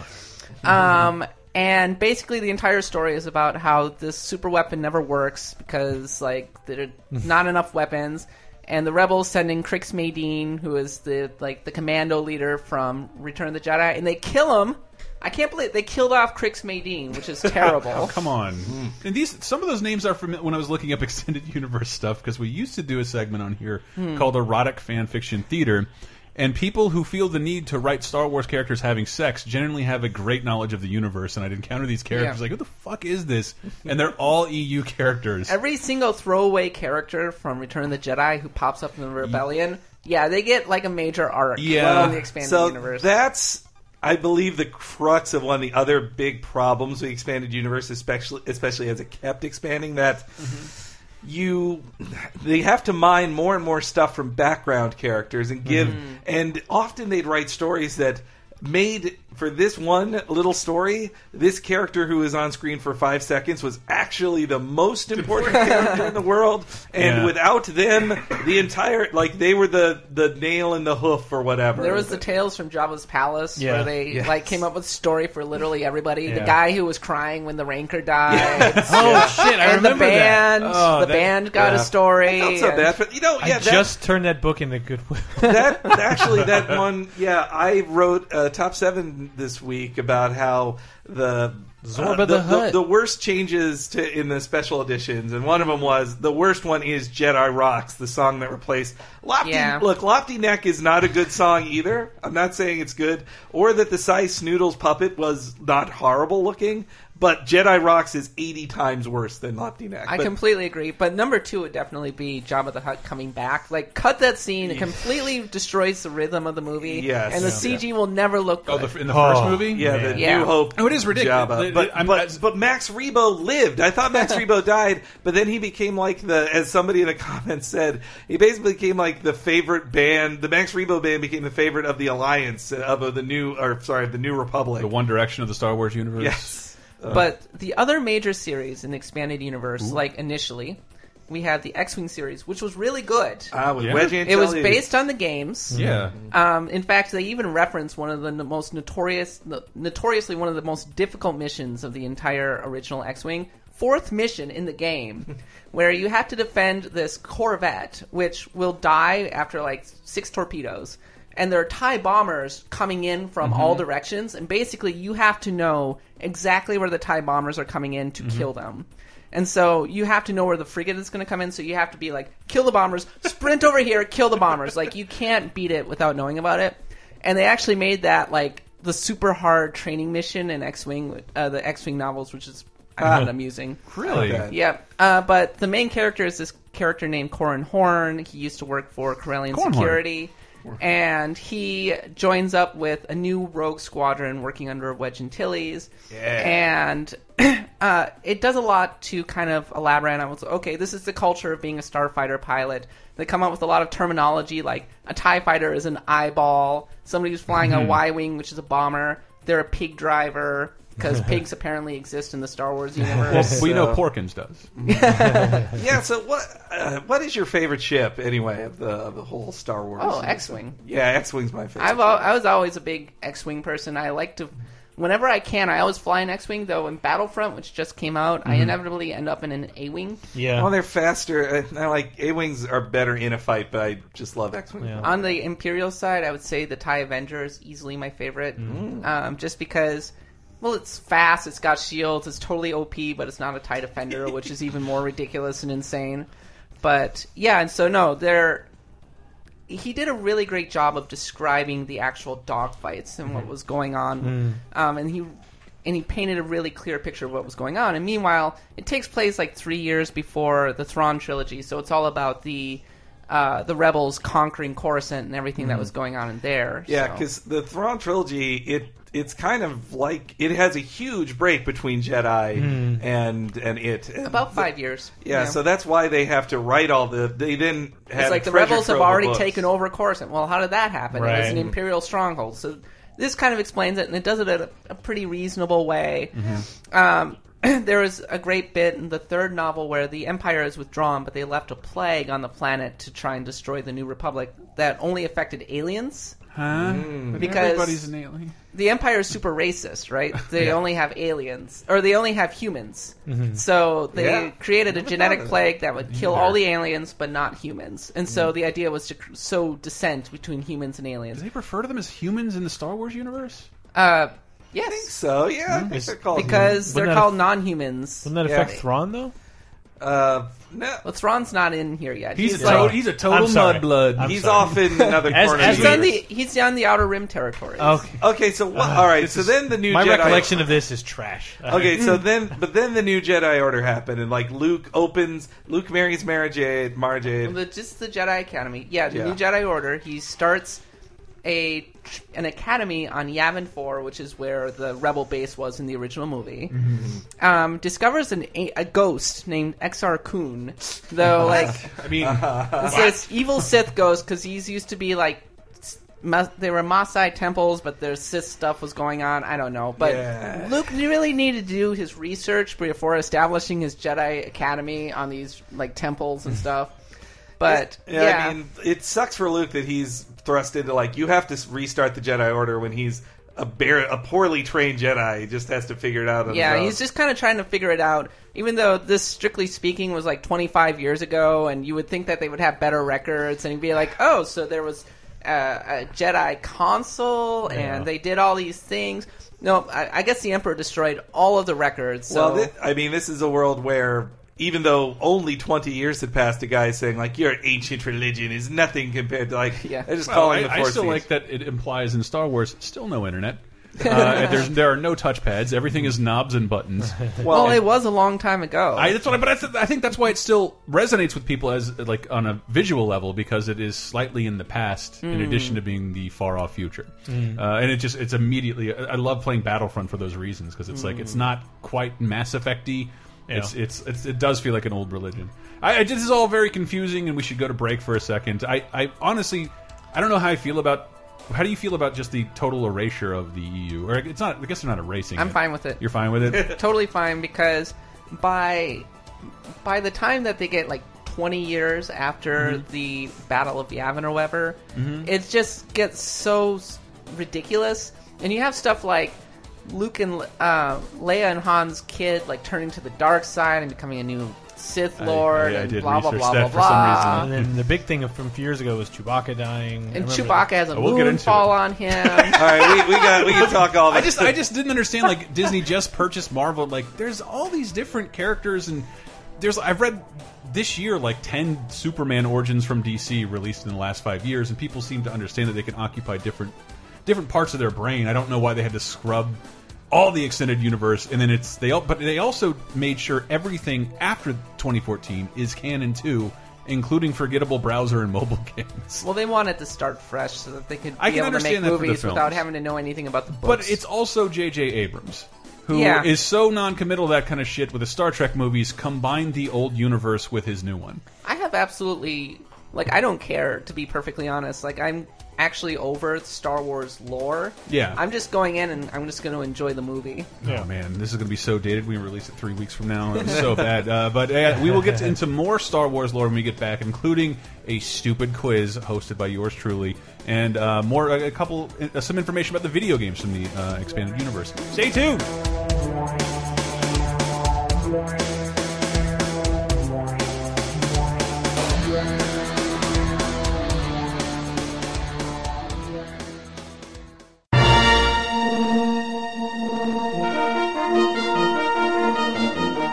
S4: Um, and basically, the entire story is about how this super weapon never works because like there are
S1: Hmm.
S4: not enough weapons. And the rebels send in Crix Maydeen, who is the like the commando leader from Return of the Jedi, and they kill him. I can't believe they killed off Crix Maydeen, which is terrible.
S1: Come on.
S4: Mm-hmm.
S1: And these some of those names are from when I was looking up extended universe stuff because we used to do a segment on here
S4: Hmm.
S1: called erotic fan fiction theater. And people who feel the need to write Star Wars characters having sex generally have a great knowledge of the universe. And I'd encounter these characters
S4: Yeah.
S1: like, who the fuck is this? And they're all EU characters.
S4: Every single throwaway character from Return of the Jedi who pops up in the Rebellion, yeah, they get like a major arc
S1: Yeah.
S4: in the expanded
S2: so
S4: universe.
S2: that's I believe the crux of one of the other big problems with the expanded universe, especially especially as it kept expanding, that
S4: Mm-hmm.
S2: you they have to mine more and more stuff
S4: Mm-hmm.
S2: from background characters and give and often they'd write stories that made for this one little story, this character who was on screen for five seconds was actually the most important character in the world. And
S1: Yeah.
S2: without them, the entire like they were the the nail in the hoof or whatever.
S4: There was the tales from Java's Palace
S5: Yeah.
S4: where they
S2: Yes.
S4: like came up with story for literally everybody. The
S5: Yeah.
S4: guy who was crying when the ranker died.
S5: Oh shit! I
S4: And the
S5: remember
S4: band,
S5: that. Oh,
S4: the Oh,
S5: that-
S4: band got
S2: yeah.
S4: a story.
S2: I felt so
S4: and-
S2: bad, but you know, yeah,
S5: I
S2: that-
S5: just turned that book into Goodwill.
S2: that actually that one yeah i wrote uh, top seven this week about how the uh,
S5: Zorba
S2: the,
S5: the
S2: the,
S5: Hutt.
S2: the worst changes to in the special editions, and one of them was the worst one is Jedi Rocks, the song that replaced Lofty.
S4: Yeah.
S2: Look, Lofty Neck is not a good song either. I'm not saying it's good, or that the Sice Noodles puppet was not horrible looking, but Jedi Rocks is 80 times worse than Lofty Neck.
S4: I
S2: But-
S4: completely agree, but number two would definitely be Jabba the Hutt coming back. Like, cut that scene; it completely destroys the rhythm of the movie,
S2: Yes.
S4: and the
S2: Yeah.
S4: CG will never look
S1: Oh,
S4: good.
S1: the, in the
S5: Oh,
S1: first movie?
S2: Yeah,
S5: Man.
S2: the
S4: Yeah.
S2: New Hope.
S1: Oh, it is ridiculous.
S2: Jabba.
S1: The-
S2: but,
S1: I'm-
S2: but, but Max Rebo lived. I thought Max Rebo died, but then he became like the, as somebody in the comments said, he basically became like the favorite band. The Max Rebo band became the favorite of the Alliance, uh, of, of the New, or sorry, of the New Republic.
S1: The One Direction of the Star Wars universe.
S2: yes.
S5: uh.
S4: but the other major series in the expanded universe, like initially, we had the X-wing series, which was really good.
S2: Ah, with
S1: Yeah.
S2: Wedge
S4: it was
S2: Antilles.
S4: based on the games.
S1: Yeah.
S4: Um, in fact, they even reference one of the n- most notorious, the- notoriously one of the most difficult missions of the entire original X-wing. Fourth mission in the game, where you have to defend this Corvette, which will die after like six torpedoes, and there are Thai bombers coming in from all directions, and basically you have to know exactly where the Thai bombers are coming in to kill them. And so you have to know where the frigate is going to come in. So you have to be like, kill the bombers, sprint over here, kill the bombers. Like you can't beat it without knowing about it. And they actually made that like the super hard training mission in X Wing, uh, the X Wing novels, which is I found amusing.
S1: Really?
S2: Okay.
S4: Yep. Uh, but the main character is this character named Corin Horn. He used to work for Corellian
S1: Corrin Horn.
S4: Security. And he joins up with a new rogue squadron working under Wedge Antilles. And uh, it does a lot to kind of elaborate on what's okay, this is the culture of being a starfighter pilot. They come up with a lot of terminology like a TIE fighter is an eyeball, somebody who's flying
S1: Mm-hmm.
S4: a Y Wing, which is a bomber, they're a pig driver. Because pigs apparently exist in the Star Wars universe.
S1: Well, we know
S2: So-
S1: Porkins does.
S4: Mm-hmm.
S2: Yeah, so what, uh, what is your favorite ship, anyway, of the, of the whole Star Wars?
S4: Oh, X-Wing.
S2: Yeah, X-Wing's my favorite.
S4: I've al- I was always a big X-wing person. I like to, whenever I can, I always fly an X-wing. Though in Battlefront, which just came out, I inevitably end up in an A-wing.
S5: yeah.
S2: Well, Oh, they're faster. I, I like A wings are better in a fight, but I just love X wings.
S5: Yeah.
S4: On the Imperial side, I would say the Tie Avenger is easily my favorite, um, just because. Well, it's fast. It's got shields. It's totally OP, but it's not a Tie Defender, which is even more ridiculous and insane. But yeah, and so no, they're he did a really great job of describing the actual dogfights and what was going on, um, and he and he painted a really clear picture of what was going on. And meanwhile, it takes place like three years before the Thrawn trilogy, so it's all about the uh, the rebels conquering Coruscant and everything that was going on in there.
S2: Yeah,
S4: so.
S2: because the Thrawn trilogy, it it's kind of like it has a huge break between Jedi
S5: Hmm.
S2: and and it. And
S4: about five years.
S2: yeah, so that's why they have to write all the. They then have
S4: It's like the
S2: treasure
S4: rebels have
S2: trove of
S4: already
S2: books.
S4: taken over Coruscant. Well, how did that happen? It was
S5: Right.
S4: an imperial stronghold. So this kind of explains it, and it does it in a, a pretty reasonable way.
S2: Mm-hmm.
S4: Um, there was a great bit in the third novel where the Empire is withdrawn, but they left a plague on the planet to try and destroy the New Republic that only affected aliens.
S1: Huh?
S4: Because-
S1: Mm-hmm. Everybody's an alien.
S4: The Empire is super racist, right? They only have aliens, or they only have humans. So they
S2: Yeah.
S4: created a
S2: Never thought
S4: genetic
S2: of
S4: plague that would kill all the aliens, but not humans. And so the idea was to cr- sow dissent between humans and aliens.
S1: Do they refer to them as humans in the Star Wars universe?
S4: Uh,
S2: I think
S4: yes,
S2: so. Yeah, I think
S5: Hmm. It's-
S2: they're called
S4: because
S5: Wouldn't
S4: they're
S5: that
S4: called
S5: aff-
S4: non-humans.
S5: Wouldn't that
S2: Yeah.
S5: affect Thrawn though?
S2: Uh, no,
S4: Well, Thron's not in here yet. He's,
S5: a total-
S4: like,
S5: he's a total I'm sorry. mudblood. I'm
S2: he's
S5: sorry.
S2: off in another
S5: As-
S2: corner.
S5: as
S4: he's on
S5: leader.
S4: the he's on the Outer Rim territory.
S5: Okay.
S2: okay, so what, all right. So then the new
S5: Uh, My
S2: Jedi
S5: recollection Hmm. of this is trash.
S2: Okay, so then, but then the new Jedi Order happened, and like Luke opens, Luke marries Mara Jade, Mara Jade.
S4: The, just the Jedi Academy. Yeah, the
S2: Yeah.
S4: new Jedi Order. He starts a an academy on Yavin 4, which is where the rebel base was in the original movie. Um, discovers an, a, a ghost named XR Kun, though like
S1: I mean,
S4: this evil Sith ghost because he's used to be like s- Ma- they were Maasai temples, but their Sith stuff was going on. I don't know. But
S2: Yeah.
S4: Luke really needed to do his research before establishing his Jedi Academy on these like temples and stuff. But
S2: Hmm. Yeah,
S4: yeah,
S2: I mean, it sucks for Luke that he's thrust into like you have to s- restart the Jedi Order when he's a bare, a poorly trained Jedi. He just has to figure it out. On
S4: Yeah,
S2: his own.
S4: he's just kind of trying to figure it out. Even though this, strictly speaking, was like 25 years ago, and you would think that they would have better records, and you'd be like, oh, so there was uh, a Jedi console, and they did all these things. No, I, I guess the Emperor destroyed all of the records. So
S2: Well, thi- I mean, this is a world where even though only 20 years had passed, a guy saying like your ancient religion is nothing compared to like
S4: Yeah.
S2: they're just
S1: Well,
S2: calling
S1: I,
S2: the
S1: I
S2: Force.
S1: still
S2: used.
S1: like that it implies in Star Wars still no internet. Uh, there's there are no touchpads. Everything is knobs and buttons.
S2: Well,
S4: Well, it was a long time ago.
S1: I, that's what I, but I, th I think that's why it still resonates with people as like on a visual level because it is slightly in the past in addition to being the far off future, uh, and it just it's immediately. I I love playing Battlefront for those reasons because it's like it's not quite Mass Effecty. It's,
S5: Yeah.
S1: it's it's it does feel like an old religion. I, I this is all very confusing, and we should go to break for a second. I, I honestly I don't know how I feel about. How do you feel about just the total erasure of the EU? Or it's not. I guess they're not erasing.
S4: I'm
S1: it.
S4: fine with it.
S1: You're fine with it.
S4: totally fine because by by the time that they get like 20 years after
S1: Mm-hmm.
S4: the Battle of Yavin or whatever, it just gets so s- ridiculous. And you have stuff like Luke and uh, Leia and Han's kid like turning to the dark side and becoming a new Sith
S1: I-
S4: Lord
S1: yeah, I
S4: and
S1: did
S4: blah blah
S1: research
S4: blah
S1: that
S4: blah
S1: for some
S4: blah.
S1: reason.
S5: And then the big thing from a few years ago was Chewbacca dying. I
S4: Ah. And
S5: remember
S4: Chewbacca has a
S1: We'll get
S4: moon
S1: into
S4: fall
S1: it.
S4: on him.
S2: all right, we, we got we can talk all.
S1: I
S2: this.
S1: just I just didn't understand like Disney just purchased Marvel. Like there's all these different characters and there's I've read this year like ten Superman origins from DC released in the last five years, and people seem to understand that they can occupy different different parts of their brain. I don't know why they had to scrub all the extended universe, and then it's they all but they also made sure everything after 2014 is canon too, including forgettable browser and mobile games.
S4: well, they wanted to start fresh so that they could be
S1: I can
S4: able to make
S1: understand that for the
S4: movies without
S1: films.
S4: having to know anything about the books.
S1: But it's also J.J. Abrams, who is
S4: Yeah.
S1: so non-committal to that kind of shit with the Star Trek movies, combined the old universe with his new one.
S4: I have absolutely like I don't care to be perfectly honest. Like I'm actually over Star Wars lore.
S1: Yeah.
S4: I'm just going in and I'm just going to enjoy the movie.
S5: Yeah.
S1: Oh man, this is going to be so dated. We release it three weeks from now. It was so bad. Uh, but uh, we will get to- into more Star Wars lore when we get back, including a stupid quiz hosted by yours truly, and uh, more a, a couple uh, some information about the video games from the uh, expanded universe. Stay tuned.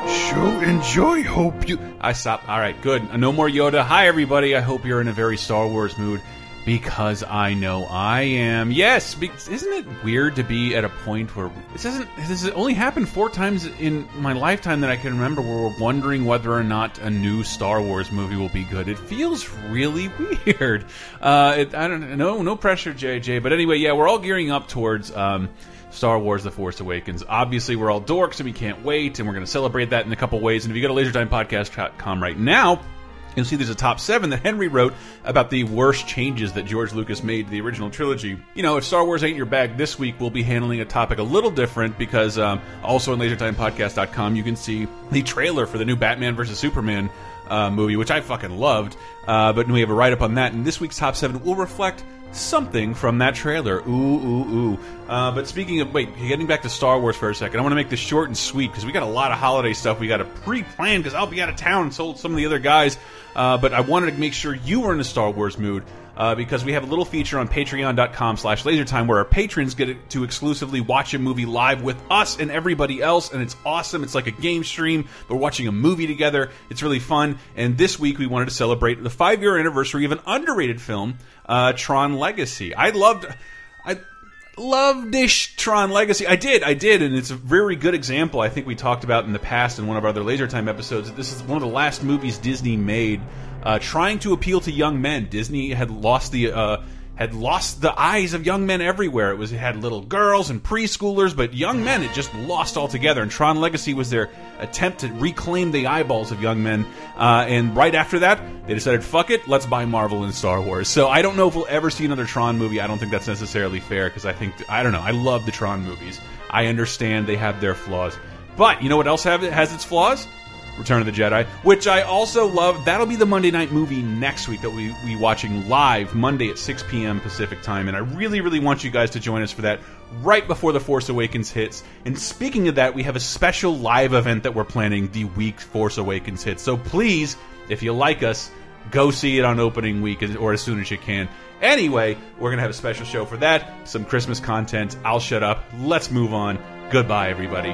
S1: Show enjoy. Hope you. I stop. All right, good. No more Yoda. Hi, everybody. I hope you're in a very Star Wars mood because I know I am. Yes. Be isn't it weird to be at a point where this isn't? This has only happened four times in my lifetime that I can remember where we're wondering whether or not a new Star Wars movie will be good. It feels really weird. Uh, it, I don't know. No pressure, JJ. But anyway, yeah, we're all gearing up towards. Um, Star Wars The Force Awakens. Obviously, we're all dorks and we can't wait, and we're going to celebrate that in a couple ways. And if you go to lasertimepodcast.com right now, you'll see there's a top seven that Henry wrote about the worst changes that George Lucas made to the original trilogy. You know, if Star Wars ain't your bag this week, we'll be handling a topic a little different because um, also on lasertimepodcast.com, you can see the trailer for the new Batman versus Superman uh, movie, which I fucking loved. Uh, but we have a write up on that, and this week's top seven will reflect something from that trailer. Ooh, ooh, ooh. Uh, but speaking of, wait, getting back to Star Wars for a second, I want to make this short and sweet because we got a lot of holiday stuff we got to pre plan because I'll be out of town and so will some of the other guys. Uh, but I wanted to make sure you were in a Star Wars mood. Uh, because we have a little feature on patreon.com slash lasertime where our patrons get to exclusively watch a movie live with us and everybody else and it's awesome it's like a game stream we're watching a movie together it's really fun and this week we wanted to celebrate the five year anniversary of an underrated film uh, tron legacy i loved i loved ish Tron Legacy. I did, I did, and it's a very good example. I think we talked about in the past in one of our other Laser Time episodes. that This is one of the last movies Disney made, uh, trying to appeal to young men. Disney had lost the uh, had lost the eyes of young men everywhere. It was it had little girls and preschoolers, but young men it just lost altogether. And Tron Legacy was their attempt to reclaim the eyeballs of young men. Uh, and right after that, they decided, "Fuck it, let's buy Marvel and Star Wars." So I don't know if we'll ever see another Tron movie. I don't think that's necessarily fair because I think I don't know. I love the Tron movies. I understand they have their flaws, but you know what else have has its flaws? Return of the Jedi, which I also love. That'll be the Monday night movie next week that we we watching live Monday at 6 p.m. Pacific time, and I really really want you guys to join us for that right before the Force Awakens hits. And speaking of that, we have a special live event that we're planning the week Force Awakens hits. So please, if you like us, go see it on opening week as- or as soon as you can. Anyway, we're gonna have a special show for that, some Christmas content. I'll shut up. Let's move on. Goodbye, everybody.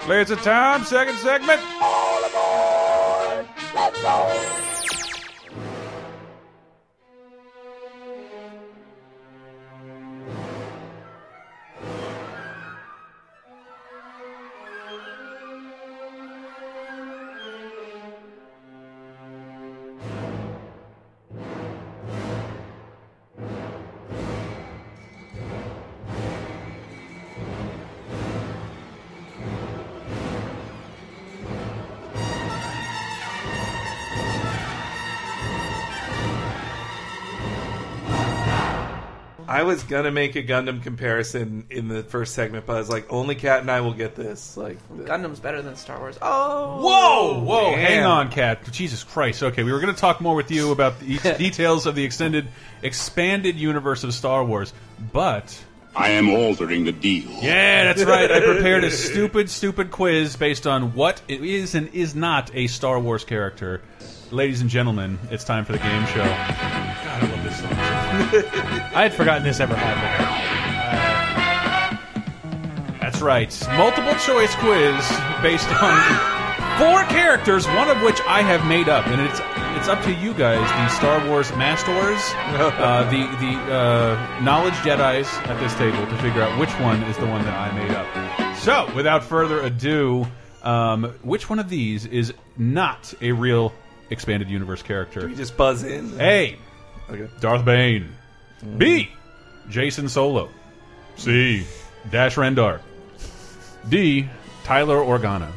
S1: Clears the time, second segment.
S2: I was gonna make a Gundam comparison in the first segment, but I was like, only Cat and I will get this. Like,
S4: Gundam's better than Star Wars. Oh,
S1: Whoa, whoa,
S2: Damn.
S1: hang on, Kat. Jesus Christ. Okay, we were going to talk more with you about the e- details of the extended, expanded universe of Star Wars, but.
S6: I am altering the deal.
S1: Yeah, that's right. I prepared a stupid, stupid quiz based on what it is and is not a Star Wars character. Ladies and gentlemen, it's time for the game show. God, I love this song. so much.
S5: I had forgotten this ever happened.
S1: That's right. Multiple choice quiz based on four characters, one of which I have made up, and it's it's up to you guys, the Star Wars masters, uh, the the uh, knowledge Jedi's at this table, to figure out which one is the one that I made up. So, without further ado, um, which one of these is not a real expanded universe character?
S2: you just buzz in.
S1: A.
S2: Okay.
S1: Darth Bane.
S5: Mm.
S1: B. Jason Solo. C. Dash Rendar. D. Tyler Organa.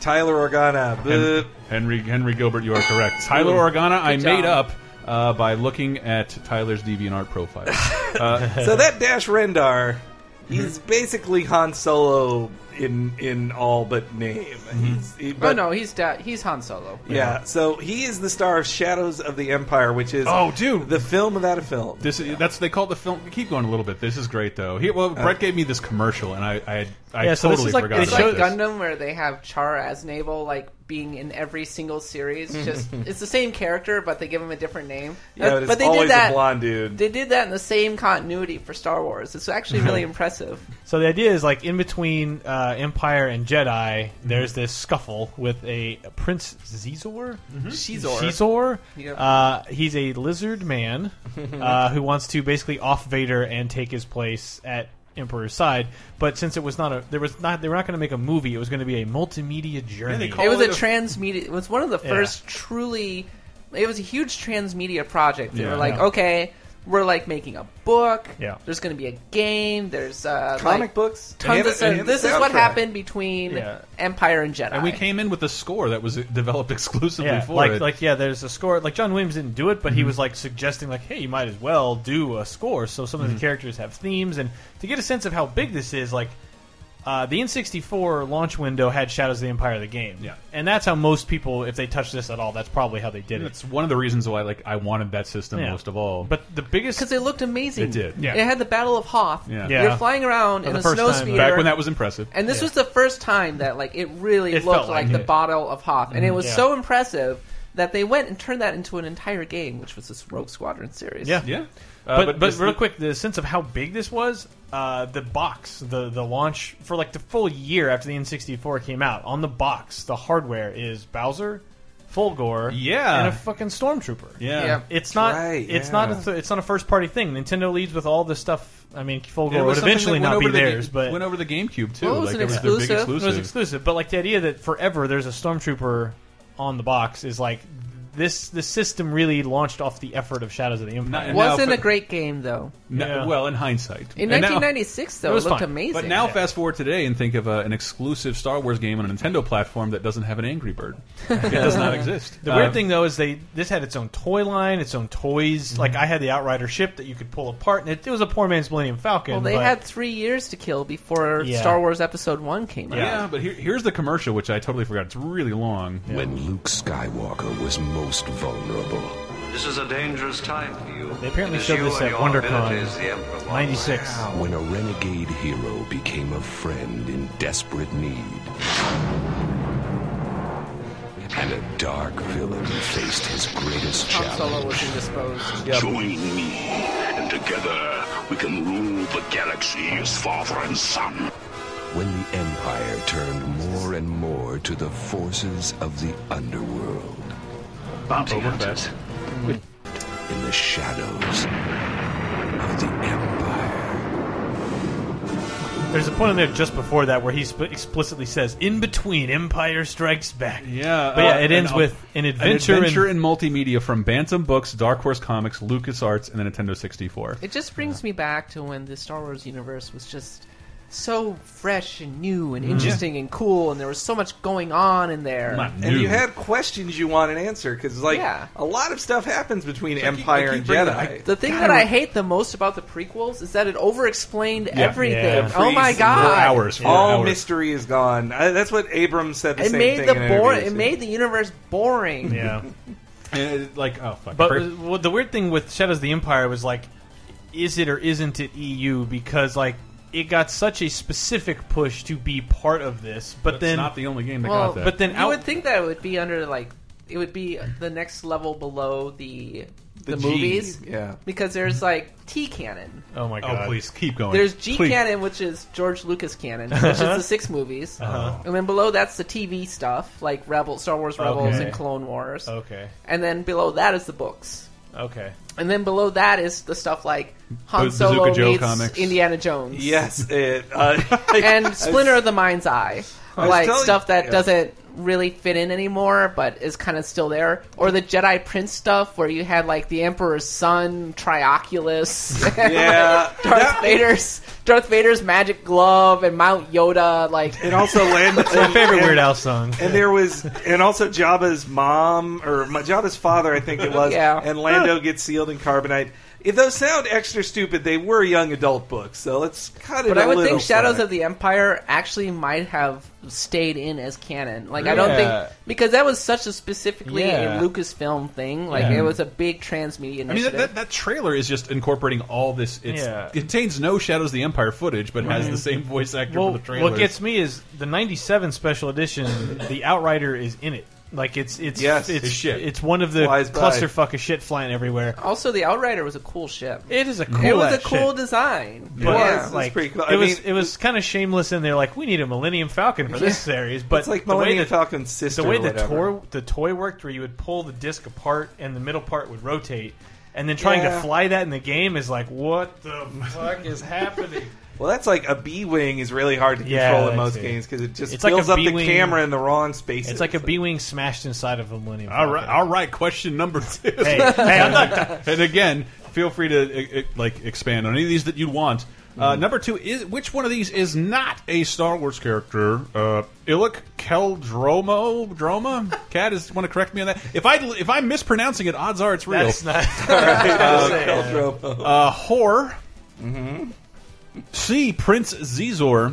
S2: Tyler Organa.
S1: Hen-
S2: Boo.
S1: Henry Henry Gilbert, you are correct. Tyler Organa, I
S4: Good
S1: made
S4: job.
S1: up uh, by looking at Tyler's DeviantArt profile. Uh,
S2: so that Dash Rendar, he's
S4: Mhm.
S2: basically Han Solo in in all but name. He's he,
S4: Oh
S2: but,
S4: no, he's da- he's Han Solo.
S2: yeah. So he is the star of Shadows of the Empire, which is
S1: Oh, dude.
S2: the film without a film.
S1: this is, that's they call it the film. Keep going a little bit. This is great though. Here, well, Brett gave me this commercial, and I I, I
S5: Uh. Yeah, so
S1: totally
S5: this is like-
S1: forgot
S5: it's
S4: It's
S1: about
S4: like
S1: this.
S4: Gundam where they have Char as Naval like being in every single series. Just it's the same character, but they give him a different name.
S2: yeah, but
S4: That-
S2: it's
S4: but they
S2: always
S4: did that.
S2: a blonde dude.
S4: They did that in the same continuity for Star Wars. It's actually really impressive.
S5: So the idea is like in between uh, Empire and Jedi, there's this scuffle with a Prince Zizor.
S4: Shizor.
S5: Caesar.
S4: Yeah.
S5: Uh, he's a lizard man uh, who wants to basically off Vader and take his place at Emperor's side. But since it was not a, there was not, they were not going to make a movie. It was going to be a multimedia journey.
S1: call-
S4: It was
S1: All
S4: a
S1: the-
S4: transmedia. It was one of the
S5: Yeah.
S4: first truly. It was a huge transmedia project. They
S1: Yeah.
S4: were like,
S5: Yeah.
S4: okay, we're like making a book.
S5: Yeah.
S4: There's going to be a game. There's uh,
S2: Comic
S4: like,
S2: books.
S4: Tons
S2: And-
S4: of stuff.
S2: and
S4: this is what
S2: soundtrack.
S4: happened between
S5: Yeah.
S4: Empire and Jedi.
S1: and we came in with a score that was developed exclusively
S5: yeah,
S1: for
S5: like
S1: it. Mm-hmm.
S5: like yeah, there's a score. Like John Williams didn't do it, but he was like suggesting like, hey, you might as well do a score. So some
S1: Mm-hmm.
S5: of the characters have themes, and to get a sense of how big this is, like. Uh, the N64 launch window had Shadows of the Empire, the game,
S1: Yeah.
S5: and that's how most people, if they touch this at all, that's probably how they did it.
S1: It's one of the reasons why like I wanted that system
S5: Yeah.
S1: most of all.
S5: But the biggest
S4: because they looked amazing.
S1: It did.
S5: Yeah.
S4: It had the Battle of Hoth.
S1: Yeah.
S5: Yeah.
S4: You're flying around
S5: For
S4: in
S5: the
S4: a
S5: first
S4: snow
S5: time.
S4: speeder.
S1: back when that was impressive,
S4: and this
S5: Yeah.
S4: was the first time that like it really
S5: It felt
S4: looked
S5: like
S4: like the
S5: it. Mm-hmm.
S4: Battle of Hoth, and it was
S5: Yeah.
S4: so impressive that they went and turned that into an entire game, which was this Rogue Squadron series.
S5: Yeah.
S1: yeah. Uh,
S5: but, but,
S1: this-
S5: real quick, the sense of how big this was, uh, the box, the the launch for like the full year after the N64 came out, on the box, the hardware is Bowser, Fulgore,
S1: Yeah.
S5: and a fucking stormtrooper.
S1: Yeah.
S4: Yeah.
S5: It's not
S2: Right,
S5: it's
S2: yeah.
S5: not a th- it's not a first party thing. Nintendo leads with all this stuff I mean, Folgore
S1: It was
S5: would
S1: something that
S5: eventually
S1: went
S5: not be
S1: over the ga-
S5: theirs, but
S1: went over the GameCube too.
S4: Well, it was
S1: like
S4: an
S1: it was their big
S4: exclusive.
S1: exclusive.
S5: It was exclusive, but like the idea that forever there's a stormtrooper on the box is like this. The system really launched off the effort of Shadows of the Empire.
S1: And now
S4: Wasn't
S1: fa-
S4: a great game though.
S1: No-
S5: Yeah.
S1: Well, in hindsight,
S4: In
S1: And now-
S4: 1996, though,
S5: It
S4: it,
S5: was
S4: looked
S5: fun,
S4: amazing.
S1: But now, fast forward today and think of uh, an exclusive Star Wars game on a Nintendo platform that doesn't have an Angry Bird. it does not exist.
S5: the weird
S1: Uh,
S5: thing though is they this had its own toy line, its own toys.
S1: Mm-hmm.
S5: Like I had the Outrider ship that you could pull apart, and it, it was a poor man's Millennium Falcon.
S4: well, they
S5: but-
S4: had three years to kill before
S5: Yeah.
S4: Star Wars Episode One came out.
S1: Yeah, but here, here's the commercial, which I totally forgot. It's really long.
S3: When Luke Skywalker was most vulnerable.
S7: This is a dangerous time for you.
S5: They apparently
S7: It is
S5: showed
S7: you
S5: this
S7: and
S5: at
S7: your
S5: WonderCon
S7: abilities the Emperor wants.
S5: '96.
S3: When a renegade hero became a friend in desperate need. And a dark villain faced his greatest
S4: Han Solo was
S3: challenge.
S4: indisposed.
S6: Join me, and together we can rule the galaxy as father and son.
S3: When the Empire turned more and more to the forces of the underworld.
S6: Bounty
S1: hunters.
S3: In the shadows of the Empire.
S5: There's a point in there just before that where he sp- explicitly says, "In between, Empire Strikes Back."
S1: Yeah,
S5: but yeah,
S1: uh,
S5: it ends
S1: and, uh,
S5: with an adventure,
S1: an adventure
S5: in-
S1: in multimedia from Bantam Books, Dark Horse Comics, LucasArts, and the Nintendo 64.
S4: It just brings me back to when the Star Wars universe was just so fresh and new
S1: Mm-hmm.
S4: and interesting and cool, and there was so much going on in there.
S1: Not
S2: And
S1: new.
S2: you had questions you want an answer because, like,
S4: Yeah.
S2: a lot of stuff happens between
S1: I keep- I
S2: Empire
S1: keep
S2: and
S1: bringing
S2: Jedi.
S1: it- I-
S4: The thing that I hate the most about the prequels is that it over-explained everything.
S5: Yeah.
S4: Oh my
S2: Every
S4: god!
S1: Four hours. Four
S2: All
S1: hours.
S2: mystery is gone. I, that's what Abrams said. The
S4: It
S2: same
S4: made
S2: thing
S4: the
S2: in
S4: bore.
S2: interviews.
S4: It made the universe boring.
S5: yeah.
S1: And it- like, oh, fuck.
S5: But
S1: Fir-
S5: uh, well, the weird thing with Shadows of the Empire was like, is it or isn't it EU? Because like it got such a specific push to be part of this, but,
S1: it's
S5: then
S1: not the only game that
S4: Well,
S1: got that.
S5: but then
S4: You
S5: out
S4: would think that it would be under like it would be the next level below the the,
S2: G,
S4: movies
S2: Yeah.
S4: because there's like T canon.
S5: oh my
S1: oh,
S5: god,
S1: please keep going.
S4: There's G
S1: Please.
S4: canon, which is George Lucas canon, which is the six movies, and then below that's the TV stuff like Rebel, Star Wars Rebels,
S5: Okay.
S4: and Clone Wars,
S5: okay,
S4: and then below that is the books.
S5: okay,
S4: And then below that is the stuff like Han
S1: Bazooka
S4: Solo
S1: Joe
S4: meets
S1: comics.
S4: Indiana Jones.
S2: Yes. It. Uh,
S4: and Splinter of the Mind's Eye,
S2: was
S4: like
S2: telling-
S4: stuff that
S2: yeah.
S4: doesn't really fit in anymore, but is kind of still there, or the Jedi Prince stuff where you had like the Emperor's son, Trioculus, and,
S2: Yeah.
S4: like, Darth
S2: That-
S4: Vader's Darth Vader's magic glove, and Mount Yoda. Like
S2: It also landed.
S5: my favorite Weird Al song.
S2: And there was, and also Jabba's mom or my, Jabba's father, I think it was.
S4: Yeah.
S2: And Lando gets sealed in carbonite. If those sound extra stupid, they were young adult books, so let's cut it.
S4: But
S2: I
S4: I would think Shadows of the Empire actually might have stayed in as canon. Like I don't
S5: Yeah.
S4: think because that was such a specifically
S5: Yeah.
S4: a Lucasfilm thing. Like
S5: Yeah.
S4: it was a big transmedia initiative.
S1: I mean, that, that, that trailer is just incorporating all this. It's,
S5: Yeah.
S1: contains no Shadows of the Empire footage, but has the same voice actor
S5: Well,
S1: for the trailer.
S5: what gets me is the '97 special edition. the Outrider is in it. Like it's it's
S2: Yes,
S5: it's
S1: it's shit.
S5: It's one of the
S2: Flies by.
S5: clusterfuck of shit flying everywhere.
S4: also, the Outrider was a cool ship.
S5: It is a cool.
S4: it was a
S5: ass shit.
S4: cool design.
S5: But
S2: Yeah.
S5: it's
S2: It's
S5: like,
S2: pretty cool.
S5: It
S2: I
S5: was
S2: mean-
S5: it was kind of shameless, and they're like, we need a Millennium Falcon for this series. But
S2: it's like
S5: the way
S2: Millennium
S5: that,
S2: Falcon's sister.
S5: the way
S2: or
S5: the
S2: whatever.
S5: toy the toy worked, where you would pull the disc apart and the middle part would rotate, and then trying to
S2: Yeah.
S5: fly that in the game is like, what the fuck is happening?
S2: Well, that's like a B wing is really hard to
S5: Yeah,
S2: control in
S5: that's
S2: most
S5: it.
S2: games because it just
S5: It's like a
S2: fills up
S5: B-wing-
S2: the camera in the wrong spaces.
S5: It's like a B wing smashed inside of a Millennium.
S1: all
S5: Falcon.
S1: right, all right. Question number two.
S5: Hey, hey, I'm not done.
S1: and again, feel free to uh, uh, like expand on any of these that you want.
S5: Mm-hmm.
S1: Uh, number two is which one of these is not a Star Wars character? Uh, Illic Keldromo Droma. Cat is want to correct me on that. If I if I'm mispronouncing it, odds are it's real.
S5: That's not.
S1: Uh, whore. C. Prince Zizor.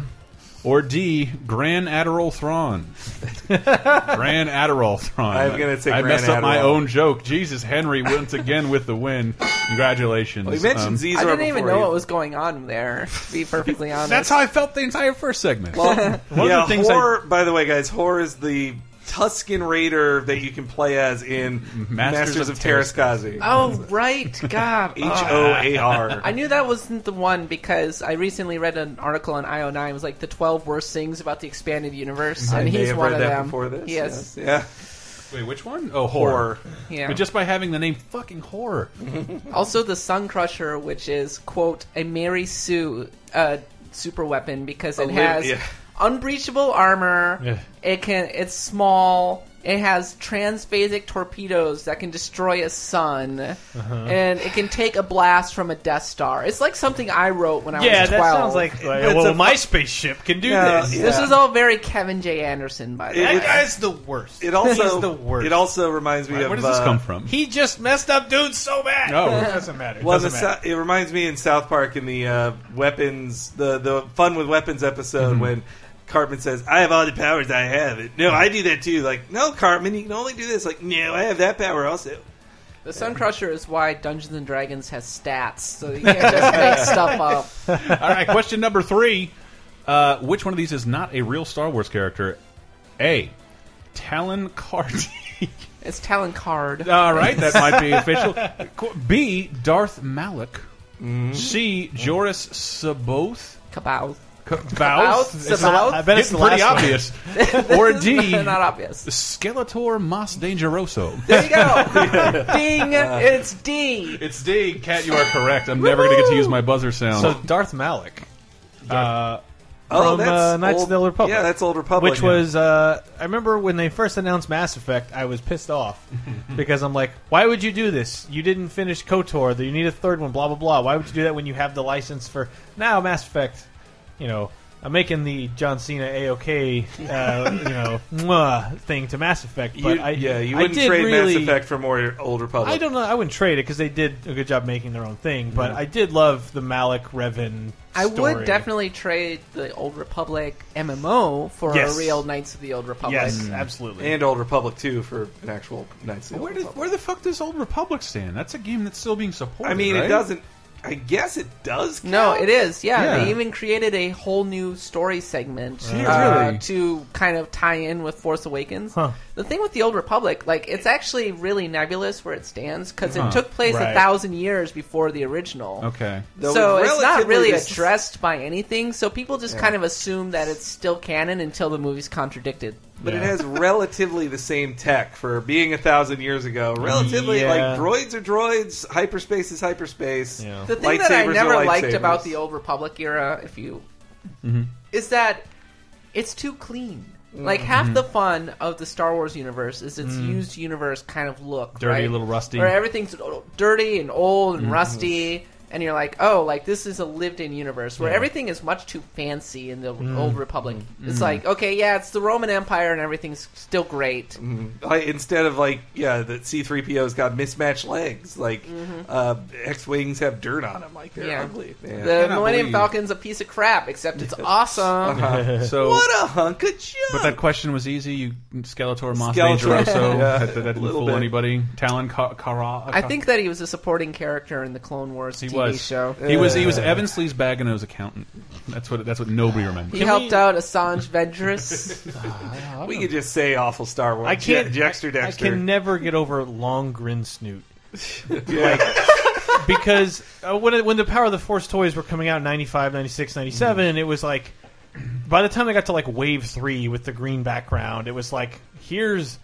S1: Or D. Grand Admiral Thrawn. Grand Admiral Thrawn.
S2: I'm gonna take
S1: I
S2: Grand
S1: messed up my
S2: Admiral.
S1: own joke. Jesus, Henry once again with the win. Congratulations.
S2: We mentioned
S1: Um,
S2: Zizor
S4: I didn't even
S2: before.
S4: know what was going on there. To be perfectly honest,
S1: That's how I felt the entire first segment.
S5: One
S2: yeah,
S5: of the things I-
S2: Hor, by the way, guys, Hor is the Tuscan Raider that you can play as in Masters, of, Terraskazi.
S4: Oh right, God.
S2: H O A R.
S4: I knew that wasn't the one because I recently read an article on IO9. It was like the 12 worst things about the expanded universe, and
S2: I may
S4: he's
S2: have
S4: one
S2: read
S4: of
S2: that
S4: them.
S2: before this.
S4: Yes.
S2: yes.
S1: Wait, which one? Oh, horror.
S2: Horror.
S4: Yeah.
S1: But just by having the name fucking horror.
S4: Also, the Sun Crusher, which is quote a Mary Sue uh, super weapon because it
S2: lit-
S4: has
S2: yeah.
S4: unbreachable armor.
S5: Oh, Yeah.
S4: It can. It's small. It has transphasic torpedoes that can destroy a sun,
S5: Uh-huh.
S4: and it can take a blast from a Death Star. It's like something I wrote when I
S5: Yeah,
S4: was
S5: that
S4: twelve.
S5: sounds like, like,
S2: It's
S5: well,
S2: a-
S5: my spaceship can do
S2: Yeah,
S5: this.
S2: yeah.
S4: This is all very Kevin J. Anderson, by the
S2: It-
S4: way.
S5: That guy's the worst.
S2: It also
S5: He's the worst.
S2: It also reminds me of
S1: Where does this
S2: uh,
S1: come from? Oh.
S5: he just messed up dudes so bad.
S1: No.
S5: it doesn't matter. It
S2: Well, the,
S5: doesn't matter.
S2: Sou- it reminds me in South Park in the uh, weapons, the the fun with weapons episode
S5: Mm-hmm.
S2: when Cartman says, "I have all the powers I have." It, no, I do that too. Like, no, Cartman, you can only do this. Like, no, I have that power also.
S4: The Sun Crusher is why Dungeons and Dragons has stats, so you can't just make stuff up.
S1: All right, question number three. Uh, which one of these is not a real Star Wars character? A. Talon Carty.
S4: It's Talon Card.
S1: All right, that might be official. Qu- B. Darth Malik. Mm-hmm. C. Joris Saboth.
S4: Kabouth.
S1: Kabouth.
S4: Kabouth?
S1: It's
S4: Saboth?
S5: I bet it's
S1: getting
S5: the
S1: pretty
S5: last one.
S1: obvious. or D.
S4: Not obvious.
S1: Skeletor Mas Dangeroso.
S4: There you go. Ding. It's D.
S1: Uh, It's D. Cat, you are correct. I'm never going to get to use my buzzer sound.
S5: So Darth Malik. Uh,
S2: Oh,
S5: From, uh, Knights of
S2: old,
S5: the Old Republic.
S2: Yeah, that's Old Republic,
S5: which was uh, I remember when they first announced Mass Effect, I was pissed off because I'm like, why would you do this? You didn't finish Kotor. You need a third one. Blah blah blah. Why would you do that when you have the license for now Mass Effect? You know, I'm making the John Cena AOK uh, you know mwah, thing to Mass Effect,
S2: You-
S5: but I,
S2: yeah, you
S5: I
S2: wouldn't
S5: did
S2: trade
S5: really,
S2: Mass Effect for more Old Republic.
S5: I don't know. I wouldn't trade it because they did a good job making their own thing. But I did love the Malik Revan.
S4: I would
S5: story.
S4: definitely trade the Old Republic MMO for
S5: Yes.
S4: a real Knights of the Old Republic.
S5: Yes, absolutely.
S2: Mm. and Old Republic too for an actual Knights of the
S1: where,
S2: Old
S1: did,
S2: Republic.
S1: where the fuck does Old Republic stand? That's a game that's still being supported.
S2: I mean,
S1: right?
S2: it doesn't. I guess it does. Count.
S4: No, it is. Yeah,
S1: Yeah.
S4: they even created a whole new story segment uh,
S1: Yeah, really?
S4: to kind of tie in with Force Awakens.
S5: Huh.
S4: The thing with the Old Republic, like, it's actually really nebulous where it stands because
S1: Huh.
S4: it took place
S5: Right.
S4: a thousand years before the original.
S1: Okay.
S2: Though
S4: so
S2: it
S4: it's not
S2: relatively
S4: really
S2: dis-
S4: addressed by anything. So people just kind of assume that it's still canon until the movie's contradicted.
S2: But it
S5: Yeah.
S2: has relatively the same tech for being a thousand years ago. Relatively,
S5: Yeah.
S2: like droids are droids, hyperspace is hyperspace.
S5: Yeah.
S4: The thing that I
S2: Lightsabers are
S4: never liked
S2: lightsabers.
S4: about the old Republic era, if you,
S1: Mm-hmm.
S4: is that it's too clean. Like
S1: Mm-hmm.
S4: half the fun of the Star Wars universe is its used universe kind of look,
S1: Dirty,
S4: right?
S1: a little rusty. Mm-hmm.
S4: where everything's dirty and old and rusty, and you're like, oh, like this is a lived-in universe where everything is much too fancy in the
S1: Mm-hmm.
S4: old Republic. It's like, okay, yeah, it's the Roman Empire and everything's still great.
S1: Mm-hmm.
S2: Like, instead of like, yeah, that C three PO's got mismatched legs. Like uh, X wings have dirt on them. Like they're
S4: Mm-hmm. Yeah.
S2: ugly. man.
S4: The
S1: cannot
S4: Millennium
S1: believe-
S4: Falcon's a piece of crap, except it's awesome.
S1: So
S2: Uh-huh. what a hunk of junk.
S1: But that question was easy. You Skeletor, Mos
S2: Skeletor.
S1: Dangeroso.
S2: Yeah.
S1: that, that didn't
S2: Little
S1: fool
S2: bit.
S1: anybody. Talon Ka- Kara.
S4: I think that he was a supporting character in the Clone Wars
S1: he
S4: TV
S1: was.
S4: show.
S1: He was. He was Evan Sleesbagano's accountant. That's what. That's what nobody remembers.
S4: He
S5: Can
S4: helped
S5: we-
S4: out Assange Ventress.
S2: we could just say awful Star Wars.
S5: I can't.
S2: Je- Jexter Dexter.
S5: I can never get over long grin snoot
S2: Yeah.
S5: because uh, when it, when the Power of the Force toys were coming out in 95, 96,
S1: Mm-hmm.
S5: 97, it was like by the time I got to like Wave Three with the green background, it was like here's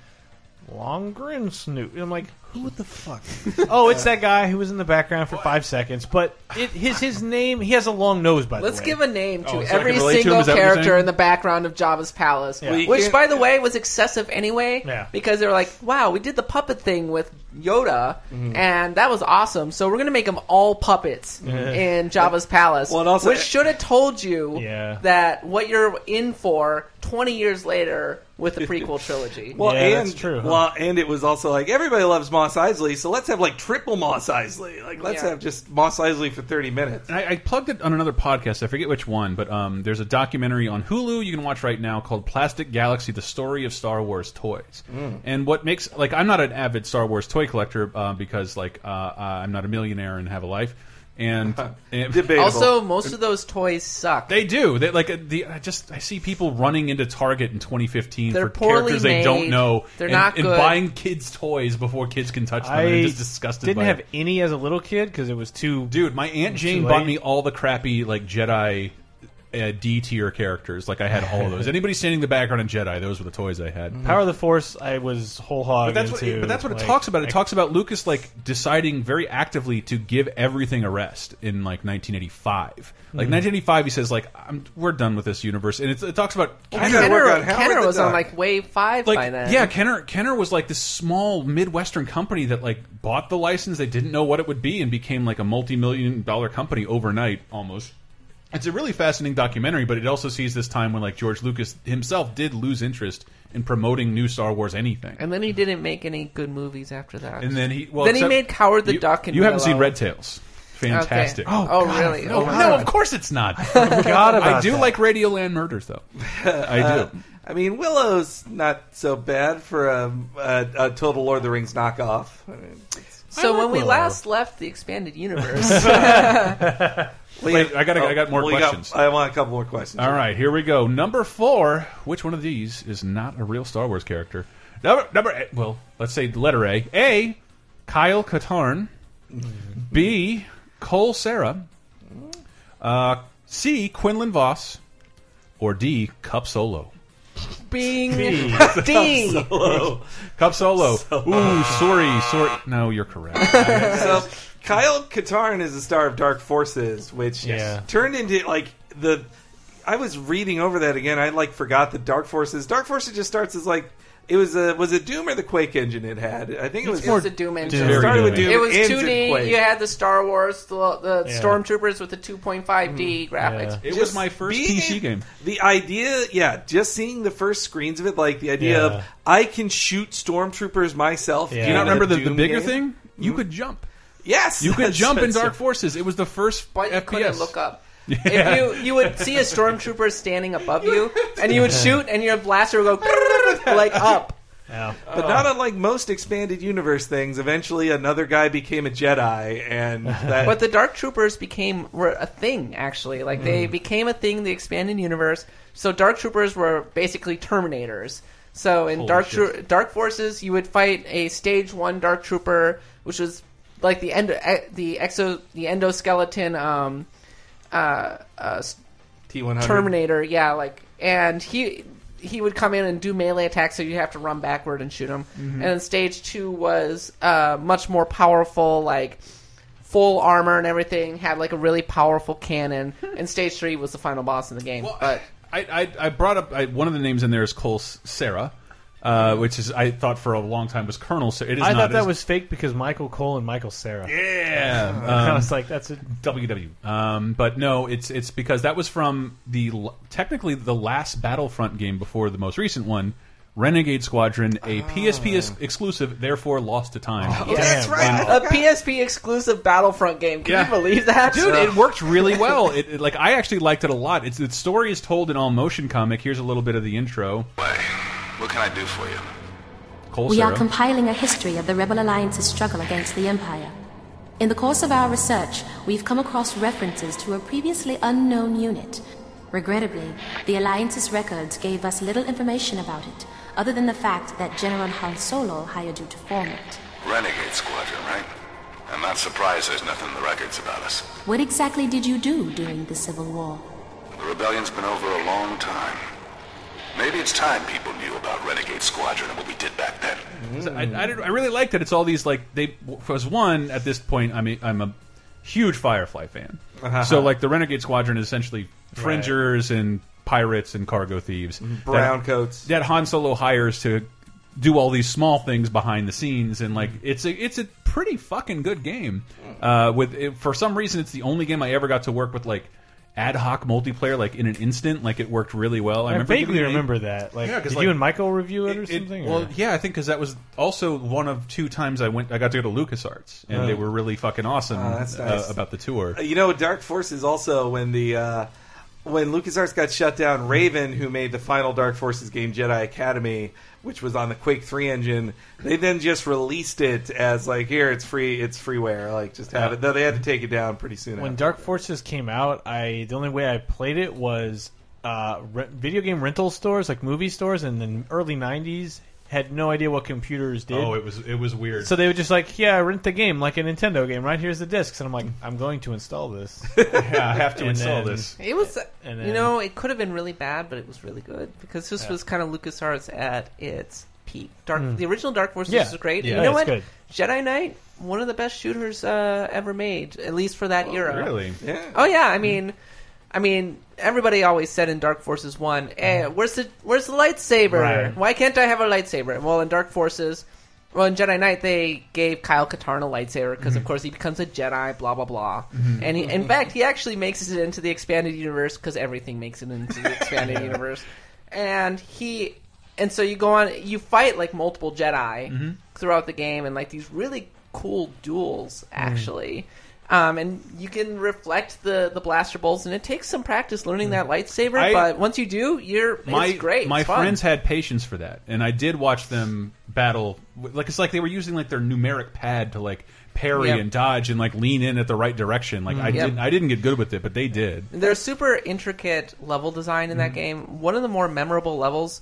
S5: long grin snoot. And I'm like, who the fuck? oh, it's that guy who was in the background for five seconds. But it, his his name. He has a long nose. By
S4: Let's
S5: the way,
S4: give a name to
S1: Oh, so I can
S4: every
S1: relate to him,
S4: single
S1: is that what you're
S4: character
S1: saying?
S4: in the background of Java's Palace.
S5: Yeah. Well, you
S4: Which,
S2: can't-
S4: by the way, was excessive anyway,
S5: Yeah.
S4: because they were like, wow, we did the puppet thing with Yoda,
S1: Mm-hmm.
S4: and that was awesome, so we're going to make them all puppets in Java's Palace.
S2: Well, and also-
S4: which should have told you
S5: Yeah.
S4: that what you're in for 20 years later with the prequel trilogy.
S2: Well,
S5: Yeah,
S2: and
S5: that's true, huh?
S2: well, and it was also like everybody loves Moss Isley, so let's have like triple Moss Isley. Like let's
S4: Yeah.
S2: have just Moss Isley for thirty minutes.
S1: And I, I plugged it on another podcast. I forget which one, but um, there's a documentary on Hulu you can watch right now called "Plastic Galaxy: The Story of Star Wars Toys."
S2: Mm.
S1: And what makes like I'm not an avid Star Wars toy collector uh, because like uh, I'm not a millionaire and have a life. And, and
S2: Debatable.
S4: also, most of those toys suck.
S1: They do. They like uh, the. I just I see people running into Target in 2015
S4: They're
S1: for characters
S4: poorly
S1: they don't
S4: made.
S1: know.
S4: They're
S1: and,
S4: not
S1: and
S4: good.
S1: buying kids toys before kids can touch them. I
S5: I
S1: am just disgusted.
S5: didn't
S1: by
S5: have
S1: it.
S5: any as a little kid because it was too
S1: dude. My aunt Jane
S5: too
S1: bought
S5: late.
S1: me all the crappy like Jedi. uh, D tier characters. Like I had all of those. Anybody standing in the background in Jedi, those were the toys I had.
S5: Power of the Force, I was whole hog.
S1: But that's what,
S5: into,
S1: but that's what it
S5: like,
S1: talks about. It
S5: I-
S1: talks about Lucas like deciding very actively to give everything a rest in like 1985.
S5: Hmm.
S1: Like 1985, he says like I'm, we're done with this universe, and it, it talks about
S2: we
S1: kind
S2: gotta
S1: of
S2: work
S4: Kenner,
S2: out Howard
S4: Kenner
S2: the
S4: was on
S2: Duck.
S4: like wave five
S1: like
S4: by then.
S1: yeah, Kenner Kenner was like this small midwestern company that like bought the license. They didn't know what it would be and became like a multi million dollar company overnight almost. It's a really fascinating documentary, but it also sees this time when like George Lucas himself did lose interest in promoting new Star Wars anything.
S4: and then he didn't make any good movies after that.
S1: And then he well,
S4: Then he
S1: except-
S4: made Coward the
S1: you,
S4: Duck and
S1: you haven't
S4: Willow.
S1: seen Red Tails. Fantastic.
S4: Okay. Oh,
S1: God,
S4: really?
S1: No,
S4: Oh,
S1: no,
S4: God.
S1: of course it's not. I forgot I
S5: about
S1: do
S5: that.
S1: like Radioland Murders though. I
S4: Uh,
S1: do.
S2: I mean, Willow's not so bad for a, a, a total Lord of the Rings knockoff. I mean, it's-
S4: so
S5: like
S4: when we
S5: Willow.
S4: last left the expanded universe,
S1: Wait, I gotta- I got more
S2: well, you Oh, got-
S1: questions.
S2: I want a couple more questions.
S1: All right, here we go. Number four. Which one of these is not a real Star Wars character? Number, number A, well, let's say the letter A. A. Kyle Katarn. B. Cole Sarah. Uh, C. Quinlan Voss. Or D. Cup Solo.
S4: Bing, Ding.
S2: Hello.
S1: Cup Solo. Ooh, sorry, sorry. No, you're correct.
S2: so Kyle Katarn is the star of Dark Forces, which
S5: Yeah.
S2: turned into like the. I was reading over that again. I like forgot that Dark Forces. Dark Forces just starts as like it was a was it Doom or the Quake engine it had. I think it was.
S4: It was a Doom engine.
S5: Doom.
S2: it started with
S1: Very
S2: Doom.
S4: It was
S2: ends in
S4: 2D.
S2: Quake.
S4: You had the Star Wars, the, the
S5: Yeah.
S4: stormtroopers with the 2.5D graphics.
S1: It
S2: Just
S1: was my first
S2: being-
S1: PC game.
S2: The idea, yeah, just seeing the first screens of it, like the idea
S5: Yeah.
S2: of I can shoot stormtroopers myself.
S5: Yeah.
S1: Do you not
S5: And
S1: remember
S2: in a
S1: the, the
S2: Doom
S1: bigger
S2: game.
S1: thing? You could jump.
S2: Yes,
S1: You could
S2: that's-
S1: jump in
S2: that's-
S1: Dark Forces. It was the first
S4: But you couldn't
S1: FPS.
S4: look up. If you you would see a stormtrooper standing above you, and you would shoot, and your blaster would go like up.
S5: Yeah.
S2: But not unlike most expanded universe things, eventually another guy became a Jedi, and that,
S4: But the Dark Troopers became were a thing actually. Like they became a thing in the expanded universe. So Dark Troopers were basically Terminators. So in Dark
S1: shit.
S4: Troo- Dark Forces, you would fight a Stage One Dark Trooper, which was like the endo eh, the exo the endoskeleton um, uh, uh, s-
S2: T100.
S4: Terminator. Yeah, like and he. He would come in and do melee attacks, so you would have to run backward and shoot him.
S1: Mm-hmm.
S4: And then stage two was uh, much more powerful, like full armor and everything, had like a really powerful cannon,
S1: Hmm.
S4: and stage three was the final boss in the game.
S1: Well,
S4: but
S1: I, I, I brought up I, one of the names in there is Cole S- Sarah, uh, which is I thought for a long time was Colonel. Sarah. It is
S5: I
S1: not,
S5: thought that
S1: It's-
S5: was fake because Michael Cole and Michael Sarah.
S1: yeah.
S5: I was like, that's a
S1: WW. Um, but no, it's it's because that was from the l- technically the last Battlefront game before the most recent one, Renegade Squadron, a PSP is- exclusive, therefore lost to time.
S2: Oh, that's
S5: Damn,
S2: right. I
S5: wow.
S4: a
S2: forgot.
S4: PSP exclusive Battlefront game. Can
S1: Yeah.
S4: you believe that,
S1: Dude, it worked really well. It, it- like I actually liked it a lot. It's, its story is told in all motion comic. Here's a little bit of the intro.
S6: Why? What can I do for you?
S1: Cole
S8: We
S1: Sarah.
S8: are compiling a history of the Rebel Alliance's struggle against the Empire. In the course of our research, we've come across references to a previously unknown unit. Regrettably, the Alliance's records gave us little information about it, other than the fact that General Han Solo hired you to form it.
S6: Renegade Squadron, right? I'm not surprised there's nothing in the records about us.
S8: What exactly did you do during the Civil War?
S6: The rebellion's been over a long time. Maybe it's time people knew about Renegade Squadron and what we did back then.
S1: So I, I, did- I really liked it. It's all these like they because one at this point I'm a, I'm a huge Firefly fan. So like the Renegade Squadron is essentially fringers and pirates and cargo thieves.
S2: brown
S1: that,
S2: coats.
S1: that Han Solo hires to do all these small things behind the scenes and like it's a it's a pretty fucking good game. Uh, with it, for some reason it's the only game I ever got to work with like ad hoc multiplayer like in an instant. Like it worked really well. I,
S5: I,
S1: remember
S5: vaguely
S1: giving it-
S5: remember that. Like,
S1: Yeah, 'cause,
S5: did
S1: like,
S5: you and Michael review it or
S1: it- it-
S5: something?
S1: well,
S5: or-
S1: yeah, I think because that was also one of two times I went. I got to go to LucasArts, and
S5: Oh.
S1: they were really fucking awesome
S2: Oh, that's
S1: uh,
S2: nice.
S1: about the tour.
S2: You know, Dark Forces also when the uh, when LucasArts got shut down, Raven, who made the final Dark Forces game Jedi Academy, which was on the Quake 3 engine, they then just released it as like here it's free, it's freeware, like just have it. Though they had to take it down pretty soon.
S5: when
S2: after.
S5: Dark Forces came out, I the only way I played it was uh, re- video game rental stores, like movie stores, in the early '90s had no idea what computers did.
S1: Oh, it was it was weird.
S5: so they were just like, "Yeah, rent the game like a Nintendo game. Right here's the discs." And I'm like, "I'm going to install this."
S1: yeah, I have to
S5: And
S1: install
S5: then-
S1: this.
S4: It was,
S5: And
S4: you
S5: then-
S4: know, it could have been really bad, but it was really good because this was kind of LucasArts at its peak. Dark, the original Dark Forces
S5: Hmm. Yeah.
S4: was great.
S1: Yeah.
S4: you know
S5: Yeah,
S4: what?
S5: it's
S4: Jedi Knight, one of the best shooters uh, ever made, at least for that era.
S1: Really?
S2: Yeah.
S4: Oh yeah, I mean, I mean, everybody always said in Dark Forces One, eh, "Where's the Where's the lightsaber?
S5: Right.
S4: Why can't I have a lightsaber?" Well, in Dark Forces, well, in Jedi Knight, they gave Kyle Katarn a lightsaber because, of course, he becomes a Jedi. Blah blah blah. And he, in fact, he actually makes it into the expanded universe because everything makes it into the expanded universe. And he, and so you go on, you fight like multiple Jedi
S1: Mm-hmm.
S4: throughout the game, and like these really cool duels
S1: Mm.
S4: actually. Um, and you can reflect the, the blaster bolts, and it takes some practice learning that lightsaber.
S1: Mm. I-
S4: but once you do, you're
S1: my
S4: it's great.
S1: my
S4: It's fun.
S1: friends had patience for that, and I did watch them battle. Like it's like they were using like their numeric pad to like parry
S4: Yep. Mm-hmm.
S1: and dodge and like lean in at the right direction. Like I
S4: Yep.
S1: didn't I didn't get good with it, but they did.
S4: There's super intricate level design in that game. One of the more memorable levels,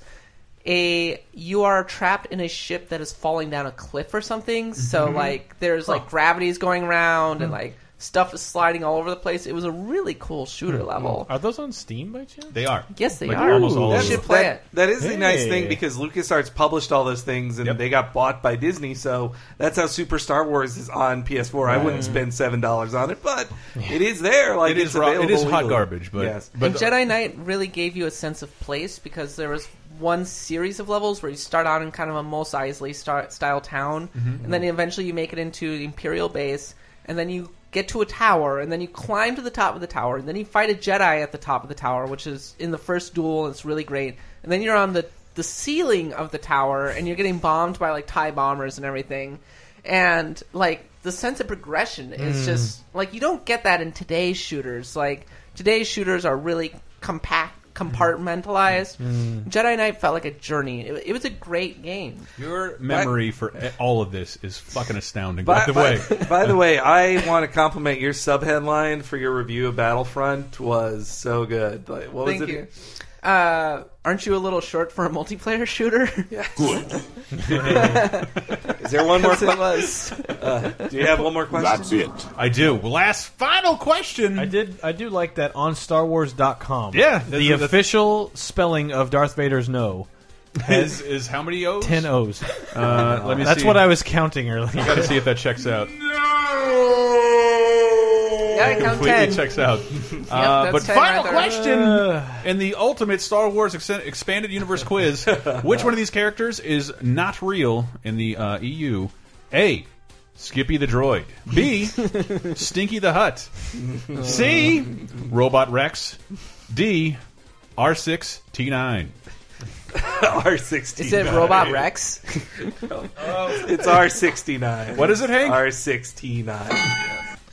S4: a you are trapped in a ship that is falling down a cliff or something. So like there's like gravities going around and like stuff is sliding all over the place. It was a really cool shooter level.
S5: Are those on Steam by chance?
S1: They are.
S4: Yes, they
S1: Like,
S4: are.
S1: almost all
S4: you
S1: of
S4: should
S1: them.
S4: Oh, play
S2: that,
S4: it.
S2: that is a nice
S5: Hey.
S2: thing because LucasArts published all those things and
S1: Yep.
S2: they got bought by Disney, so that's how Super Star Wars is on PS4. I wouldn't spend seven dollars on it, but it is there. Like
S1: It is
S2: it's
S1: raw- it
S2: available
S1: is hot
S2: legally.
S1: garbage, but-
S2: yes.
S1: but-
S4: and Jedi Knight really gave you a sense of place because there was one series of levels where you start out in kind of a Mos Eisley star- style town, and then eventually you make it into the Imperial base, and then you get to a tower, and then you climb to the top of the tower, and then you fight a Jedi at the top of the tower, which is in the first duel, and it's really great. And then you're on the the ceiling of the tower, and you're getting bombed by like Tie bombers and everything, and like the sense of progression
S1: Hmm.
S4: is just like you don't get that in today's shooters. Like today's shooters are really compact, compartmentalized.
S1: Hmm.
S4: Jedi Knight felt like a journey. It, it was a great game.
S1: Your memory for e, all of this is fucking astounding. By,
S2: By,
S1: the
S2: by-
S1: way,
S2: by the way, I want to compliment your subheadline for your review of Battlefront was so good. Like, what
S4: Thank
S2: was it?
S4: you. Uh, aren't you a little short for a multiplayer shooter?
S2: Is there one more?
S4: Yes, it
S2: que- Uh,
S4: was.
S2: Do you have one more question?
S6: it.
S1: I do. Last final question.
S5: I did. I do like that on StarWars.com.
S1: Yeah, that's-
S5: the
S1: that's-
S5: official spelling of Darth Vader's no
S1: Is, is how many O's?
S5: ten O's.
S1: Uh, let me
S5: That's
S1: see.
S5: what I was counting earlier.
S1: Got to see if that checks out.
S4: Yeah, I count
S1: completely
S4: ten.
S1: checks out.
S4: that's
S1: uh, but
S4: 10
S1: final
S4: right there.
S1: question
S5: Uh.
S1: in the ultimate Star Wars ex- expanded universe quiz: Which one of these characters is not real in the uh, EU? A. Skippy the droid. B. Stinky the Hut. C. Robot Rex. D. R6 T9.
S2: R sixty.
S4: Is it Robot Rex?
S2: It's R sixty nine.
S1: What is it, Hank?
S2: R sixty nine.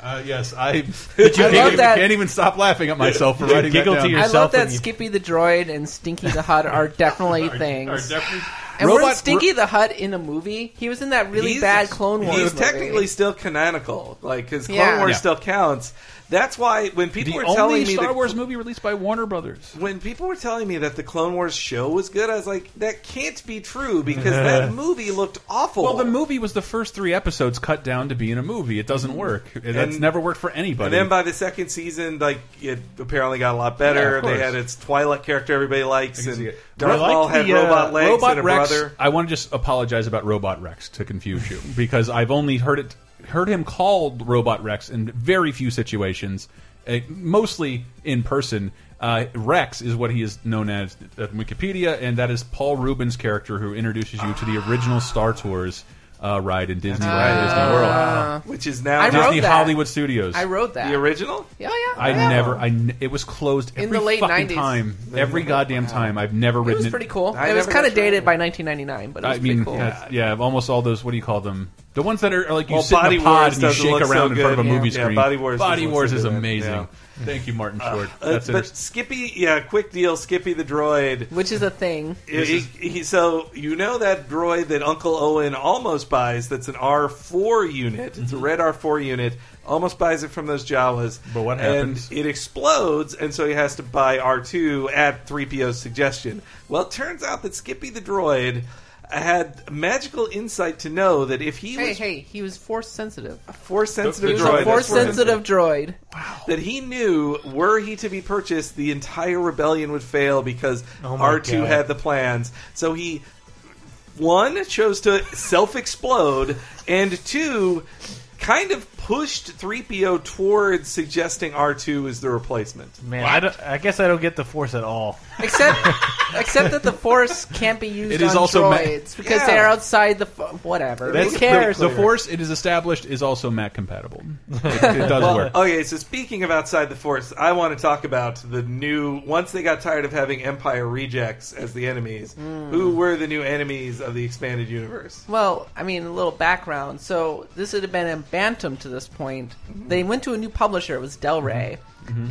S1: Uh, yes, I.
S4: you
S1: I
S4: love
S1: can't-
S4: that-
S1: Can't even stop laughing at myself for writing
S5: giggle
S1: that
S5: to
S1: down.
S5: yourself.
S4: I love
S5: when
S4: that
S5: you-
S4: Skippy the Droid and Stinky the Hut are definitely things.
S1: Are definitely-
S4: and
S1: Robot-
S4: weren't Stinky the Hut in a movie? He was in that really
S2: He's-
S4: bad Clone Wars.
S2: He's
S4: movie.
S2: technically still canonical, like because Clone
S4: Yeah.
S2: Wars
S1: Yeah.
S2: still counts. That's why when people
S1: the
S2: were telling
S1: only
S2: me
S1: Star
S2: that,
S1: Wars movie released by Warner Brothers.
S2: when people were telling me that the Clone Wars show was good, I was like, that can't be true because that movie looked awful.
S1: Well, the movie was the first three episodes cut down to being a movie. It doesn't work. That's
S2: And-
S1: never worked for anybody.
S2: And then by the second season, like it apparently got a lot better.
S1: Yeah, of
S2: they
S1: course.
S2: had its Twilight character everybody likes,
S1: see
S2: and
S1: it.
S2: Darth
S5: I like
S2: Maul had
S5: the, uh,
S2: robot legs
S1: Robot
S2: and a
S1: Rex. Uh,
S2: brother.
S1: I want to just apologize about Robot Rex to confuse you because I've only heard it heard him called Robot Rex in very few situations, eh, mostly in person. Uh, Rex is what he is known as at Wikipedia, and that is Paul Rubin's character who introduces you to the original Star Tours uh, ride in Disney,
S2: Ah.
S1: Disney World,
S2: Which is now
S4: Uh, I
S2: not
S4: wrote
S1: Disney
S4: that.
S1: Hollywood Studios.
S4: I wrote that.
S2: the original.
S4: Yeah, yeah.
S1: I
S4: yeah.
S1: never. I n- it was closed every
S4: In the late
S1: fucking
S4: 90s.
S1: time. Every goddamn time. I've never
S4: It
S1: written
S4: was pretty cool.
S2: I
S4: it was
S2: never
S4: kind of
S2: got through
S4: dated
S2: it.
S4: by 1999, but it was
S1: I mean,
S4: pretty cool.
S1: yeah, yeah, almost all those. What do you call them? The ones that are, are like you
S2: Well,
S1: sit
S2: Body
S1: in a pod
S2: Wars
S1: and you
S2: doesn't
S1: shake
S2: look so
S1: around in front of a
S2: good. Yeah.
S1: movie
S2: Yeah,
S1: screen.
S2: Body Wars
S1: Body
S2: doesn't look
S1: Wars
S2: so
S1: is
S2: good.
S1: amazing.
S2: Yeah.
S1: Thank you, Martin Short.
S2: Uh,
S1: That's
S2: but
S1: interesting.
S2: Skippy, yeah, quick deal. Skippy the droid.
S4: Which is a thing.
S2: He- he- so you know that droid that Uncle Owen almost buys. That's an R four unit. It's a red R four unit. Almost buys it from those Jawas.
S1: But what happens?
S2: And it explodes, and so he has to buy R two at three PO's suggestion. Well, it turns out that Skippy the droid. had magical insight to know that if he
S4: Hey,
S2: was
S4: hey, he was force sensitive.
S2: force
S1: The
S2: sensitive,
S4: He was a
S1: droid,
S4: force
S1: that's
S2: force-sensitive
S4: sensitive droid.
S2: that he knew were he to be purchased, the entire rebellion would fail because
S5: Oh my
S2: R2
S5: God.
S2: had the plans. So he, one, chose to self explode, and two, kind of pushed 3PO towards suggesting R2 is the replacement.
S5: Man, I, don't, I guess I don't get the force at all.
S4: Except, except that the force can't be used
S1: It is
S4: on
S1: also ma-
S4: droids because
S2: Yeah.
S4: they are outside the fo- whatever.
S1: That's
S4: Who cares?
S1: The, the force it is established is also Mac compatible. It, it does
S4: uh,
S1: work.
S2: Okay, so speaking of outside the force, I want to talk about the new. Once they got tired of having Empire rejects as the enemies,
S5: Hmm.
S2: who were the new enemies of the expanded universe?
S4: Well, I mean, a little background. So this would have been in Bantam to this point.
S1: Mm-hmm.
S4: They went to a new publisher. It was Del Rey.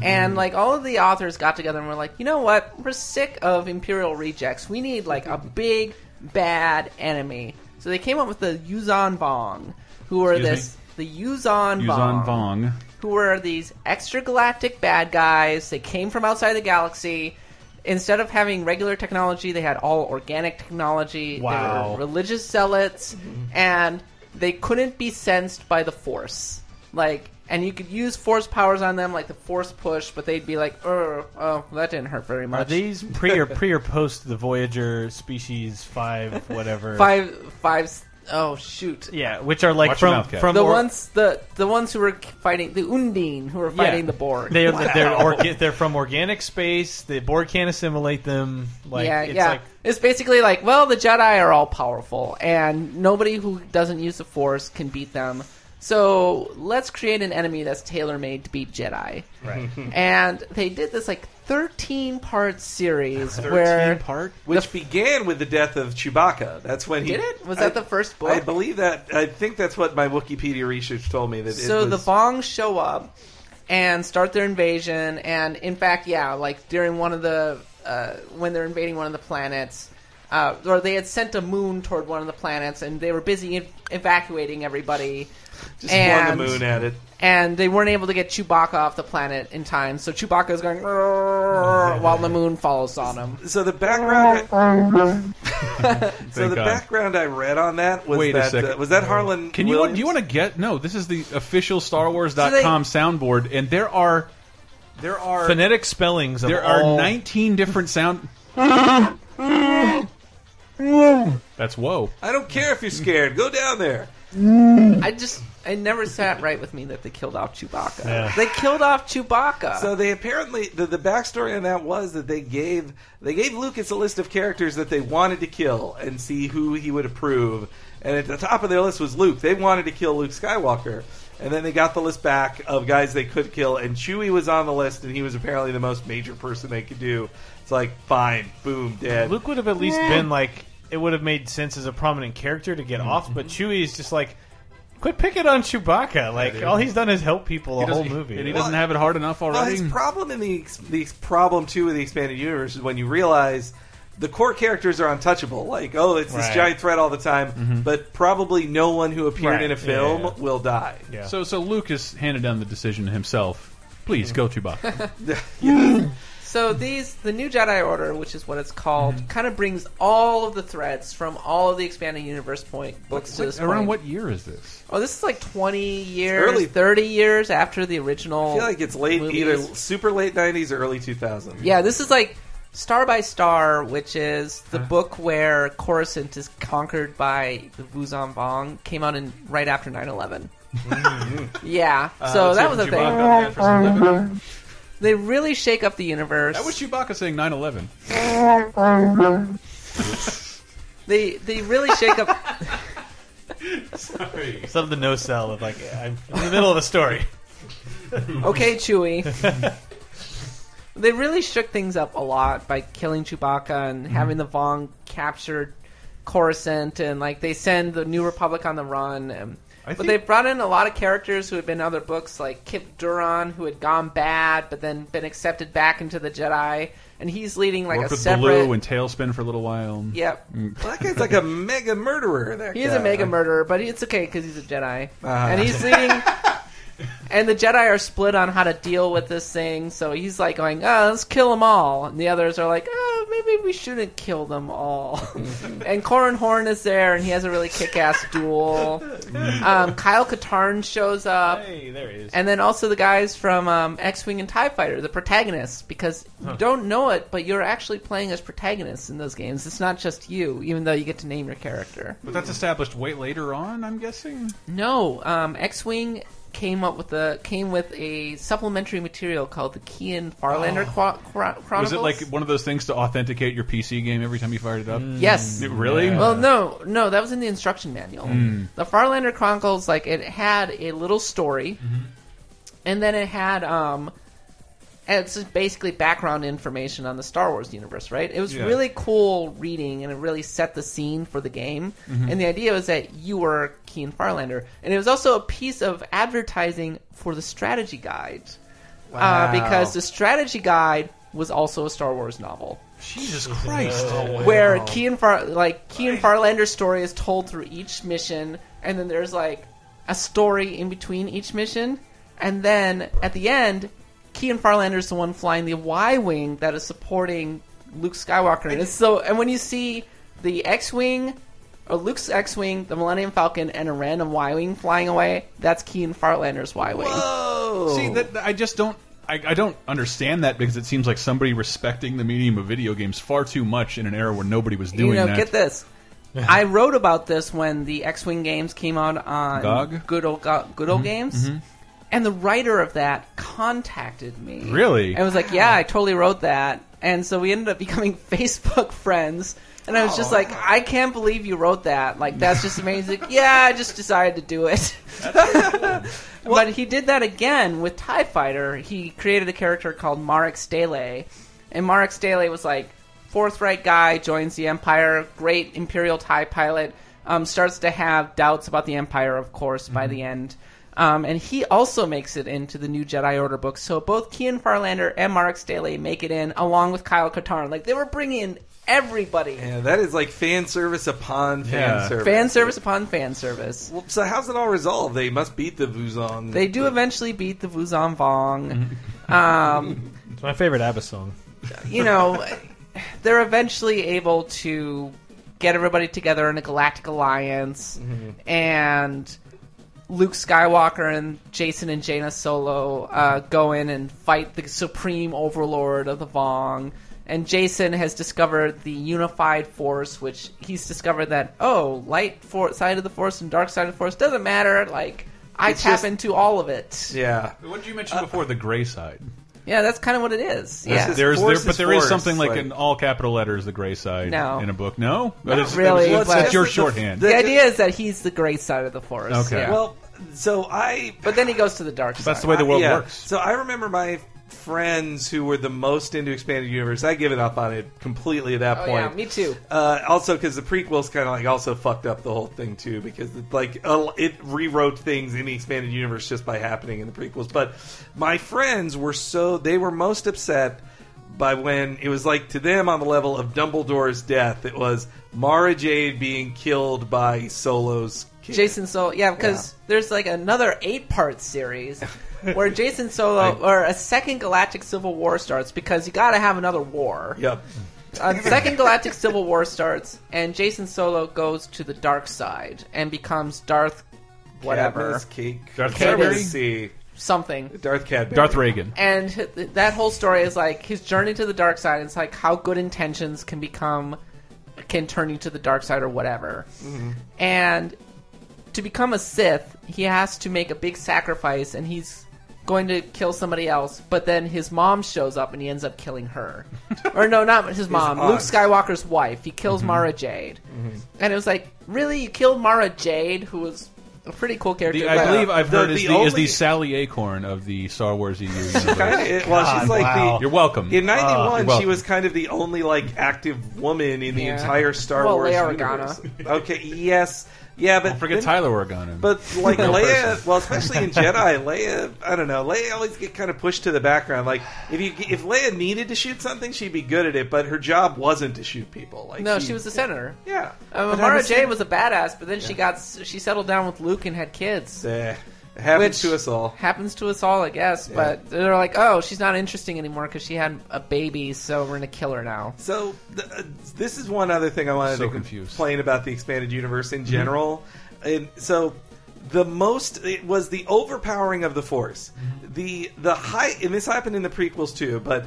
S4: And like all of the authors got together and were like, you know what? We're sick of Imperial rejects. We need like
S1: Mm-hmm.
S4: a big bad enemy. So they came up with the Yuzan Vong, who are
S1: Excuse
S4: this the Yuzan
S1: Yuzan Vong.
S4: who were these extragalactic bad guys. They came from outside the galaxy. Instead of having regular technology, they had all organic technology. They
S5: Wow. Mm-hmm.
S4: were religious zealots, and they couldn't be sensed by the Force. Like, and you could use Force powers on them, like the Force push, but they'd be like, "Er, oh, that didn't hurt very
S5: Are
S4: much."
S5: these pre or pre or post the Voyager species five whatever
S4: five, five, s- oh shoot,
S5: Yeah, which are like
S1: Watch your
S5: from
S1: mouth, Cap.
S5: from
S4: the
S5: or-
S4: ones the the ones who were fighting the Undine, who were
S5: yeah.
S4: fighting the Borg.
S5: They are, they're, orga- they're from organic space. The Borg can't assimilate them. Like,
S4: yeah,
S5: it's
S4: yeah.
S5: Like,
S4: it's basically like, well, the Jedi are all powerful, and nobody who doesn't use the Force can beat them. So let's create an enemy that's tailor made to beat Jedi. Right. and they did this like thirteen part series where
S5: part.
S2: Which began with the death of Chewbacca. That's when he
S4: Did it? Was that
S2: I-
S4: the first book?
S2: I believe that. I think that's what my Wikipedia research told me. That
S4: so
S2: it
S4: the
S2: was,
S4: Vongs show up and start their invasion. And in fact, yeah, like during one of the uh, when they're invading one of the planets, uh, or they had sent a moon toward one of the planets, and they were busy ev- evacuating everybody.
S2: just
S4: and,
S2: flung the moon at it.
S4: and they weren't able to get Chewbacca off the planet in time, so Chewbacca's going "Rrrr," while the moon follows on him.
S2: So the background. I, so
S1: Thank
S2: the
S1: God.
S2: background I read on that was
S1: Wait a
S2: that
S1: second.
S2: uh, was that Harlan.
S1: Can you
S2: Williams?
S1: do you want to get no? This is the official StarWars.com soundboard, and there are there are
S5: Phonetic spellings of
S1: there are
S5: all-
S1: 19 different sound. That's whoa.
S2: I don't care if you're scared. Go down there.
S4: I just, it never sat right with me that they killed off Chewbacca.
S5: Yeah.
S4: They killed off Chewbacca.
S2: So they apparently the, the backstory on that was that they gave they gave Lucas a list of characters that they wanted to kill and see who he would approve. And at the top of their list was Luke. They wanted to kill Luke Skywalker. And then they got the list back of guys they could kill and Chewie was on the list and he was apparently the most major person they could do. It's like fine, boom, dead.
S5: Luke would have at least been like it would have made sense as a prominent character to get off, but Chewie is just like, quit picking on Chewbacca. Like all he's done is help people the whole movie.
S1: and he doesn't have it hard enough
S2: Well,
S1: already.
S2: his problem in the ex- the ex- problem too with the expanded universe is when you realize the core characters are untouchable. Like, oh, it's this
S5: Right. Mm-hmm.
S2: giant threat all the time, but probably no one who appeared
S5: Right.
S2: in a
S5: Yeah,
S2: film
S5: yeah,
S2: will die.
S5: Yeah.
S1: so so Lucas handed down the decision himself. Please go Chewbacca.
S4: So these the new Jedi Order, which is what it's called,
S2: Mm-hmm.
S4: kind of brings all of the threads from all of the expanding universe point books to this
S1: Around
S4: point.
S1: what year is this?
S4: Oh, this is like twenty years,
S2: Early.
S4: thirty years after the original.
S2: I feel like it's late, either
S4: movies.
S2: super late '90s or early 2000s.
S4: Yeah, this is like Star by Star, which is
S2: Uh-huh.
S4: the book where Coruscant is conquered by the Wuzan Vong. Came out in right after 9-11.
S2: Mm-hmm.
S4: yeah,
S2: Uh,
S5: Uh,
S4: so that was a thing.
S1: thing.
S4: They really shake up the universe.
S1: That was Chewbacca saying 9/11.
S4: they they really shake up.
S5: Instead of the no sell of like I'm in the middle of a story.
S4: Okay, Chewie. they really shook things up a lot by killing Chewbacca and
S1: Mm-hmm.
S4: having the Vong capture Coruscant, and like they send the New Republic on the run. And,
S1: I
S4: but
S1: think-
S4: they brought in a lot of characters who had been in other books, like Kip Duran, who had gone bad but then been accepted back into the Jedi, and he's leading like
S1: Worked
S4: a
S1: with
S4: separate.
S1: Baloo and Tailspin for a little while.
S4: yep,
S2: Well, that guy's like a mega murderer. That
S4: He is
S2: guy.
S4: a mega murderer, but it's okay because he's a Jedi, and he's leading. and the Jedi are "Ah, split on how to deal with this thing. So he's like going, "Oh, let's kill them all," and the others are like, "Oh, maybe maybe we shouldn't kill them all. and Corin Horn is there, and he has a really kick-ass duel. Um, Kyle Katarn shows up.
S5: Hey, there he is.
S4: And then also the guys from um, X Wing and TIE Fighter, the protagonists, because you don't know it, but you're actually playing as protagonists in those games. It's not just you, even though you get to name your character.
S1: But that's established way later on, I'm guessing.
S4: No, um, X Wing came up with a came with a supplementary material called the Kean Farlander Qua- Chron- Chronicles.
S1: Oh. Was it like one of those things to authenticate your PC game every time you fired it up?
S4: yes?
S1: It- Really? Hmm.
S4: Well, no, no, that was in the instruction manual. The Farlander Chronicles, like it had a little story,
S1: Mm-hmm.
S4: and then it had um, and it's just basically background information on the Star Wars universe, right? It was
S1: Yeah.
S4: really cool reading, and it really set the scene for the game.
S1: Mm-hmm.
S4: And the idea was that you were Keen Farlander, and it was also a piece of advertising for the strategy guide, uh, because the strategy guide was also a Star Wars novel
S1: Jesus Christ!
S4: where Kean Far like Kean Farlander's story is told through each mission, and then there's like a story in between each mission, and then at the end, Kean Farlander's the one flying the Y wing that is supporting Luke Skywalker, and it's so and when you see the X wing. Or Luke's X-wing, the Millennium Falcon, and a random Y-wing flying away. That's Keen Farlander's Y-wing.
S1: See,
S2: Oh.
S1: that, that- I just don't. I, I don't understand that because it seems like somebody respecting the medium of video games far too much in an era where nobody was doing
S4: you know,
S1: that.
S4: get this. I wrote about this when the X-wing games came out on
S1: GOG? Mm-hmm.
S4: Good Old Go- Good Old Games, and the writer of that contacted me.
S1: Really?
S4: and was like, "Yeah, I totally wrote that." And so we ended up becoming Facebook friends. And I was just like, "I can't believe you wrote that! Like, that's just amazing." He's like, yeah, I just decided to do it. but he did that again with Tie Fighter. He created a character called Marek Stele, and Marek Stele was like forthright guy, joins the Empire, great Imperial Tie pilot, um, starts to have doubts about the Empire, of course, by the
S2: Mm-hmm.
S4: end. Um, and he also makes it into the new Jedi Order book. So both Kean Farlander and Marek Staley make it in, along with Kyle Katarn. Like they were bringing in everybody,
S2: Yeah, that is like fan service upon fan
S1: Yeah.
S2: service.
S4: fan service upon fan service.
S2: Well, so how's it all resolved? They must beat the Vuzon.
S4: They do eventually beat the Vuzon
S2: Mm-hmm.
S4: Vong. Um,
S5: It's my favorite ABBA song.
S4: you know, they're eventually able to get everybody together in a galactic alliance, and Luke Skywalker and Jason and Jaina Solo uh, go in and fight the supreme overlord of the Vong. And Jason has discovered the unified force, which he's discovered that oh, light for- side of the force and dark side of the force doesn't matter. Like I
S2: It's
S4: tap
S2: just-
S4: into all of it. Yeah,
S2: Yeah.
S1: What did you mention
S2: Uh,
S1: before? The gray side.
S4: that's kind of what it is.
S2: That's
S4: Yeah,
S2: just-
S1: There's there,
S2: force
S1: but
S2: is
S1: there is
S2: force,
S1: something like,
S2: like-
S1: in all capital letters, the gray side
S4: No.
S1: in a book. No, but it's,
S4: really,
S1: It's, it's,
S4: but-
S1: it's your
S2: The- the-
S1: shorthand.
S4: the
S2: That
S4: idea is that he's the gray side of the force.
S1: Okay.
S4: yeah.
S2: Well, so I
S4: but then he goes to the dark side.
S1: That's the way the world
S2: uh, yeah.
S1: works.
S2: So I remember my friends who were the most into expanded universe. I give it up on it completely at that
S4: Oh
S2: point.
S4: yeah, me too.
S2: Uh, also, because the prequels kind of like also fucked up the whole thing too, because it, like uh, it rewrote things in the expanded universe just by happening in the prequels. But my friends were so they were most upset by when it was like to them on the level of Dumbledore's death. It was Mara Jade being killed by Solo's kid.
S4: Jason Solo, yeah, because there's like another eight-part series where Jason Solo or a second Galactic Civil War starts because you got to have another war.
S2: Yep.
S4: A second Galactic Civil War starts, and Jason Solo goes to the dark side and becomes Darth, whatever,
S2: Cadmus, cake.
S1: Darth
S2: Cadmus,
S4: Cadbury?
S2: see.
S4: something.
S2: Darth Cadbury.
S1: Darth Reagan.
S4: and h- that whole story is like his journey to the dark side. It's like how good intentions can become, can turn you to the dark side or whatever. And to become a Sith, he has to make a big sacrifice, and he's going to kill somebody else. But then his mom shows up, and he ends up killing her. or no, not his mom. Luke
S2: aunt.
S4: Skywalker's wife. He kills Mara Jade, and it was like, really, you killed Mara Jade, who was a pretty cool character.
S1: The, I
S4: but-
S1: believe I've
S2: The-
S1: heard is,
S2: the
S1: the, is
S2: only-
S1: the Sally Acorn of the Star Wars EU
S2: Kinda,
S1: universe.
S2: it- well, she's like
S5: wow.
S2: the
S1: You're Ah, welcome.
S2: In '91,
S1: Well-
S2: she was kind of the only like active woman in the
S4: Yeah.
S2: entire Star
S4: Well,
S2: Wars
S4: Leia
S2: universe. Okay, yes, yeah, but
S1: Don't forget
S2: then-
S1: Tyler Organa.
S2: But like
S1: Real
S2: Leia,
S1: person.
S2: well, especially in Jedi, Leia, I don't know, Leia always get kind of pushed to the background. Like if you if Leia needed to shoot something, she'd be good at it, but her job wasn't to shoot people. Like
S4: no, she was a senator.
S2: yeah.
S4: Um,
S2: But
S4: Mara
S2: I'm a-
S4: Jade was a badass, but then she got she settled down with Luke and had kids.
S2: Eh. Happens
S4: Which-
S2: to us all.
S4: Happens to us all, I guess. But they're like, oh, she's not interesting anymore because she had a baby, so we're gonna kill her now.
S2: So th- uh, this is one other thing I wanted
S1: So
S2: to
S1: confused. Mm-hmm.
S2: complain about the expanded universe in general. And so the most it was the overpowering of the force.
S1: Mm-hmm.
S2: The the high and this happened in the prequels too, but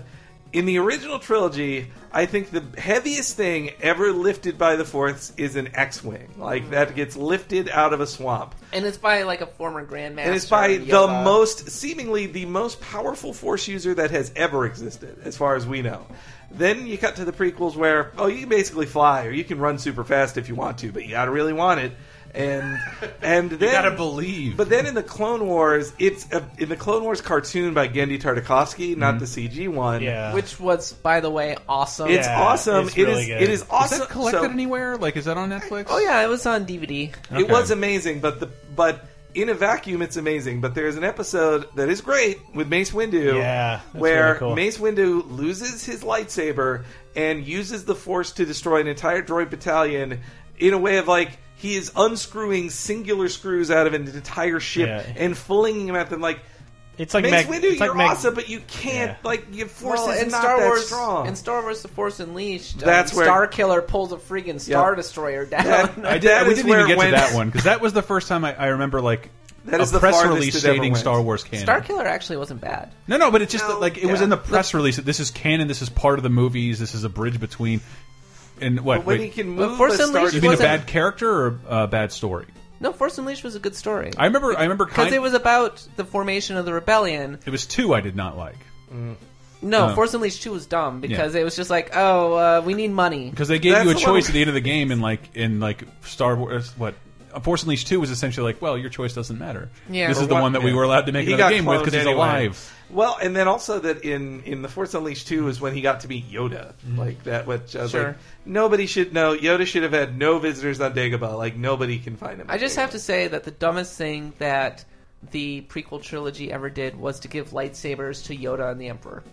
S2: in the original trilogy, I think the heaviest thing ever lifted by the force is an X-wing.
S1: Mm-hmm.
S2: Like that gets lifted out of a swamp.
S4: And it's by like a former grandmaster.
S2: And it's by the
S4: Yoda.
S2: most, seemingly the most powerful Force user that has ever existed, as far as we know. Then you cut to the prequels where, oh, you can basically fly or you can run super fast if you want to, but you gotta really want it. And and then
S1: gotta believe.
S2: But then in the Clone Wars, it's a, in the Clone Wars cartoon by Gendy Tartakovsky, not the CG one.
S5: Mm-hmm. Yeah.
S4: which was, by the way, awesome.
S2: it's
S5: Yeah,
S2: awesome.
S5: it's
S2: It
S5: really
S2: is-
S5: good.
S2: It is
S1: Is
S2: awesome.
S1: that collected
S2: So-
S1: anywhere? Like, is that on Netflix?
S4: Oh yeah, it was on DVD.
S1: Okay.
S2: It was amazing, but the but in a vacuum, it's amazing. But there's an episode that is great with Mace Windu,
S5: Yeah, that's
S2: where
S5: really cool.
S2: Mace Windu loses his lightsaber and uses the Force to destroy an entire droid battalion in a way of like he is unscrewing singular screws out of an entire ship
S5: Yeah.
S2: and flinging them at them like.
S5: It's like
S2: Mace
S5: Meg.
S2: Windu,
S5: it's like
S2: you're
S5: Meg-
S2: awesome, but you can't.
S5: Yeah.
S2: Like your force
S4: Well,
S2: is
S4: in
S2: not
S4: Star
S2: that
S4: Wars,
S2: strong.
S4: In Star Wars: The Force Unleashed, um,
S2: That's where-
S4: Star Killer pulls a friggin' Star
S2: Yep.
S4: Destroyer down.
S2: That-
S1: I did,
S2: That
S1: we
S2: is
S1: didn't
S2: where
S1: even
S2: it
S1: get
S2: went.
S1: to that one because that was the first time I, I remember like
S2: That is
S1: a
S2: the
S1: press
S2: farthest
S1: release
S2: it ever
S1: stating
S2: went.
S1: Star Wars canon.
S4: Star Killer actually wasn't bad.
S1: no, no, but it's just
S2: No,
S1: that, like it was
S2: yeah.
S1: in the press release that this is canon. This is part of the movies. This is a bridge between. And what?
S2: But when
S1: wait,
S2: he can
S4: But
S2: move,
S4: Force
S2: a Star
S4: Unleashed
S1: you mean a
S4: wasn't-
S1: bad character or a bad story?
S4: No, Force Unleashed was a good story
S1: I remember. I remember
S4: because
S1: kind.
S4: it was about the formation of the rebellion.
S1: it was two I did not like
S4: No,
S1: Oh.
S4: Force Unleashed two was dumb because it was just like, oh, uh, we need money.
S1: because they gave
S2: That's
S1: you a
S2: the one
S1: choice
S2: we-
S1: at the end of the game and like in like Star Wars what. Force Unleashed 2 was essentially like, well, your choice doesn't matter.
S4: Yeah.
S1: This
S4: Or
S1: is the
S2: what-
S1: one that we
S2: yeah.
S1: were allowed to make
S2: He
S1: another
S2: got
S1: game with
S2: cloned
S1: because he's
S2: anyway.
S1: alive.
S2: Well, and then also that in in the Force Unleashed two is when he got to meet Yoda, like that. Which I was
S4: Sure.
S2: like, nobody should know. Yoda should have had no visitors on Dagobah. Like nobody can find him.
S4: I just have to say that the dumbest thing that the prequel trilogy ever did was to give lightsabers to Yoda and the Emperor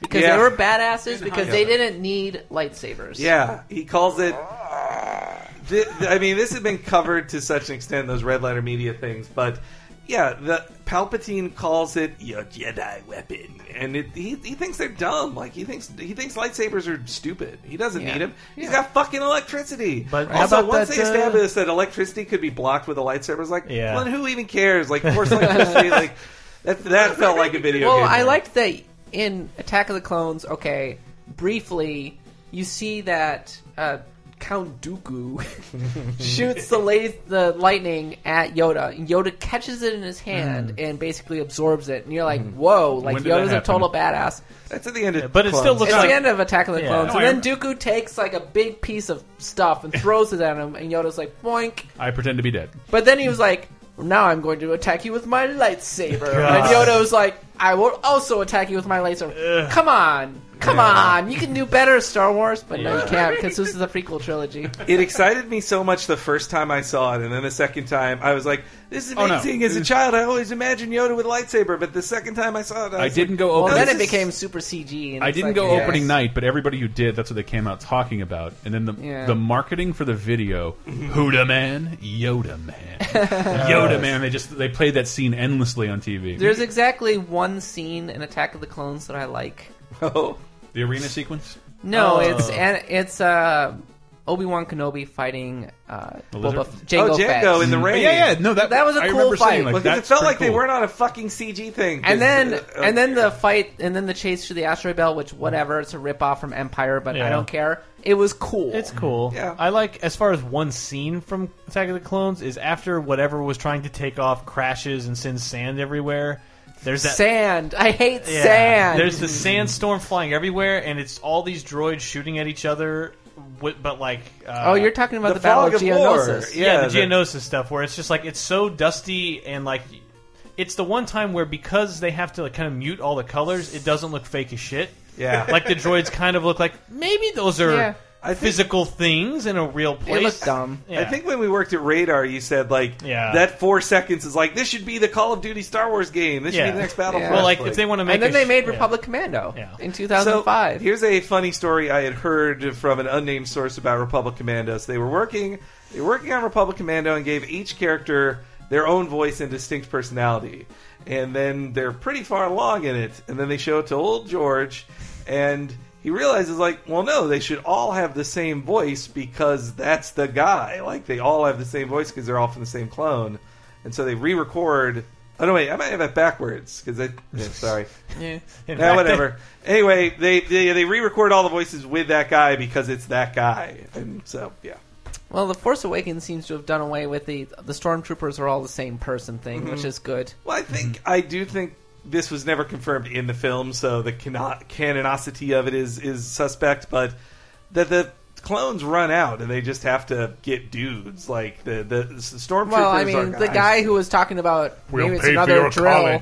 S4: because
S2: Yeah.
S4: they were badasses because they didn't need lightsabers.
S2: Yeah, he calls it. Th- th- I mean, this has been covered to such an extent those red letter media things, but yeah, the Palpatine calls it your Jedi weapon, and it, he he thinks they're dumb. Like he thinks he thinks lightsabers are stupid. He doesn't
S4: Yeah.
S2: need them. He's
S4: Yeah.
S2: got fucking electricity.
S5: But how
S2: also,
S5: about
S2: once
S5: that,
S2: they
S5: uh,
S2: established that electricity could be blocked with a lightsaber, it's like,
S5: Yeah.
S2: well, then who even cares? Like, force electricity, like. That, that felt like a video
S4: Well,
S2: game.
S4: I
S2: there.
S4: liked that in Attack of the Clones. Okay, briefly, you see that uh, Count Dooku shoots the la- the lightning at Yoda. And Yoda catches it in his hand and basically absorbs it. And you're like, whoa! Like
S1: Hmm. When did that
S4: Yoda's a
S1: happen?
S4: total badass.
S2: That's at the end of
S5: but it still
S2: Clones.
S5: looks
S4: It's
S5: like-
S4: the end of Attack of the
S5: Yeah.
S4: Clones,
S1: No, I
S4: and
S1: rem-
S4: then Dooku takes like a big piece of stuff and throws it at him, and Yoda's like, boink.
S1: I pretend to be dead.
S4: But then he was like, now I'm going to attack you with my lightsaber. And
S5: God.
S4: Yoda was like, I will also attack you with my lightsaber. Come on. Come on. You can do better, Star Wars. But no, you can't because this is a prequel trilogy.
S2: it excited me so much the first time I saw it, and then the second time I was like, "This is
S1: Oh, no.
S2: amazing." As a child, I always imagined Yoda with a lightsaber, but the second time I saw it, I,
S1: I
S2: was
S1: didn't go
S4: Well,
S1: open.
S4: then
S2: this
S4: it
S2: is-
S4: became super CG. And
S1: I
S4: it's
S1: didn't
S4: like,
S1: go
S4: yes.
S1: opening night, but everybody who did, that's what they came out talking about. And then the
S4: Yeah.
S1: the marketing for the video,
S2: Mm-hmm.
S1: Huda Man, Yoda Man, Yoda Man. They just they played that scene endlessly on TV.
S4: There's exactly one scene in Attack of the Clones that I like.
S2: Like, oh,
S1: the arena sequence.
S4: No,
S5: Oh.
S4: it's an, it's uh, Obi Wan Kenobi fighting uh,
S1: lizard?
S4: Boba, Jango,
S2: oh, Django
S4: Fett.
S2: in the
S1: But
S2: rain.
S1: Mm. yeah, yeah, no, that
S4: That was a
S1: I
S4: cool
S1: remember seeing,
S4: fight.
S1: like,
S2: Because
S1: that's
S2: it felt
S1: pretty
S2: like they
S1: cool.
S2: weren't on a fucking CG thing. 'cause,
S4: And then,
S2: uh, uh,
S4: and then the fight, and then the chase through the asteroid belt, which whatever, it's a rip off from Empire, but I
S5: Yeah.
S4: don't care. It was cool.
S5: It's cool.
S2: Yeah.
S5: I like as far as one scene from Attack of the Clones is after whatever was trying to take off crashes and sends sand everywhere. There's that
S4: sand. I hate
S5: Yeah.
S4: sand.
S5: There's the sandstorm flying everywhere, and it's all these droids shooting at each other. wi- But like, uh,
S4: oh, you're talking about
S2: the
S4: the, Battle
S2: fog
S4: of
S2: of war.
S4: Geonosis.
S5: yeah, the
S2: the-
S5: Geonosis stuff where it's just like it's so dusty and like it's the one time where because they have to like kind of mute all the colors, it doesn't look fake as shit.
S2: Yeah.
S5: like the droids kind of look like maybe those are
S4: Yeah.
S2: I think-
S5: physical things in a real place.
S4: It looked dumb.
S5: Yeah.
S2: I think when we worked at Radar, you said like
S5: Yeah.
S2: that four seconds is like this should be the Call of Duty Star Wars game. This should be
S5: Yeah.
S2: the next Battlefront.
S5: Well, like, if they want to make,
S4: And then
S5: a
S4: they
S5: sh-
S4: made
S5: yeah.
S4: Republic Commando
S5: Yeah.
S4: in
S2: So
S4: 2005.
S2: here's a funny story I had heard from an unnamed source about Republic Commandos. They were working they were working on Republic Commando and gave each character their own voice and distinct personality. And then they're pretty far along in it. And then they show it to old George, and he realizes, like, well, no, they should all have the same voice because that's the guy. Like, they all have the same voice because they're all from the same clone. And so they re record. Oh, no, wait, I might have that backwards because I. Yeah, sorry.
S5: In
S2: Yeah,
S5: fact,
S2: whatever. Anyway, they, they they re-record all the voices with that guy because it's that guy, and so yeah.
S4: Well, the Force Awakens seems to have done away with the the stormtroopers are all the same person thing, which is good.
S2: Well, I think I do think this was never confirmed in the film, so the cano- canonicity of it is is suspect. But that the clones run out and they just have to get dudes like the the, the stormtroopers.
S4: Well, I
S2: are
S4: mean, the
S2: guys.
S4: guy who was talking about maybe it's another drill.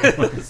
S2: I-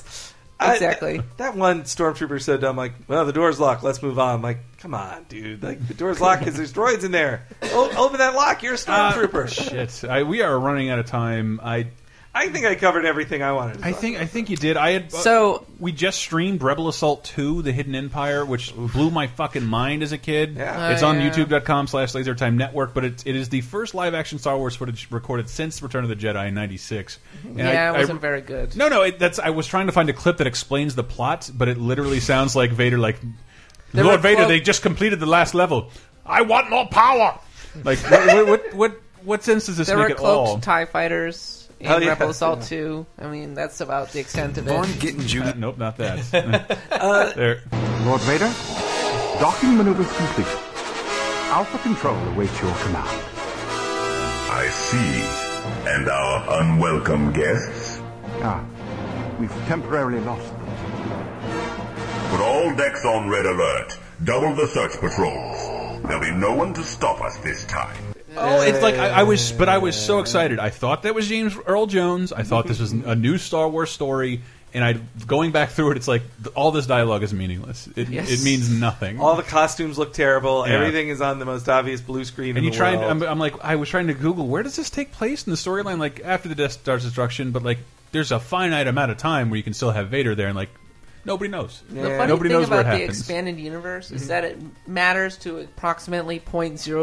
S4: Exactly.
S2: that, that one stormtrooper so dumb, like, well, the door's locked. Let's move on. I'm like, come on, dude. Like, the door's locked because there's droids in there. O- open that lock. You're a stormtrooper.
S1: Shit, I, we are running out of time. I
S2: I think I covered everything I wanted. To
S1: I
S2: talk
S1: think I think you did. I had
S4: So-
S1: we just streamed Rebel Assault Two: The Hidden Empire, which blew my fucking mind as a kid.
S2: Yeah.
S1: It's
S4: Oh,
S1: on
S4: yeah.
S1: YouTube.com slash LaserTime Network, but it, it is the first live action Star Wars footage recorded since Return of the Jedi in '96. And
S4: yeah,
S1: I-
S4: it wasn't
S1: I-
S4: very good.
S1: No, no, it, that's. I was trying to find a clip that explains the plot, but it literally sounds like Vader, like
S4: There
S1: Lord
S4: were
S1: Vader.
S4: quote-
S1: They just completed the last level. I want more power. Like, what, what, what, what sense does this
S4: there were
S1: make at all?
S4: cloaked TIE fighters in
S2: Oh, yeah.
S4: Rebel Assault 2. I mean, that's about the extent of
S3: Vaughn
S4: it.
S3: getting
S1: Uh,
S3: Judy.
S1: nope, not that. there.
S9: Lord Vader, docking maneuver complete. Alpha Control awaits your command.
S6: I see. And our unwelcome guests?
S9: Ah, we've temporarily lost them.
S6: Put all decks on red alert. Double the search patrols. There'll be no one to stop us this time.
S1: Oh, it's like I, I was, but I was so excited. I thought that was James Earl Jones. I thought this was a new Star Wars story. And I, going back through it, it's like th- all this dialogue is meaningless. It,
S4: Yes.
S1: it means nothing.
S2: All the costumes look terrible.
S1: Yeah.
S2: Everything is on the most obvious blue screen.
S1: and
S2: in
S1: you um,
S2: the
S1: try and
S2: world.
S1: I'm, I'm like I was trying to Google where does this take place in the storyline like after the Death Star's destruction but like there's a finite amount of time where you can still have Vader there and like nobody knows
S4: The funny
S1: nobody
S4: thing
S1: knows where
S4: about
S1: it
S4: the
S1: happens Mm-hmm.
S4: expanded universe is that it matters to approximately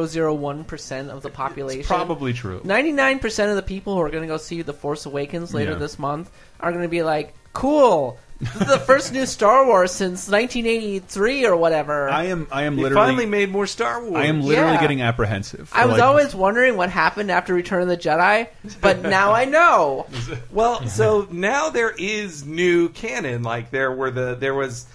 S4: 0.001% of the population.
S1: it's probably true
S4: 99% of the people who are going to go see The Force Awakens later
S1: Yeah.
S4: this month are going to be like, cool, this is the first new Star Wars since 1983 or whatever.
S1: I am I am
S2: They
S1: literally
S2: finally made more Star Wars.
S1: I am literally
S4: Yeah.
S1: getting apprehensive
S4: I was
S1: Like,
S4: always wondering what happened after Return of the Jedi, but now I know.
S2: well. So now there is new canon. Like there were the there was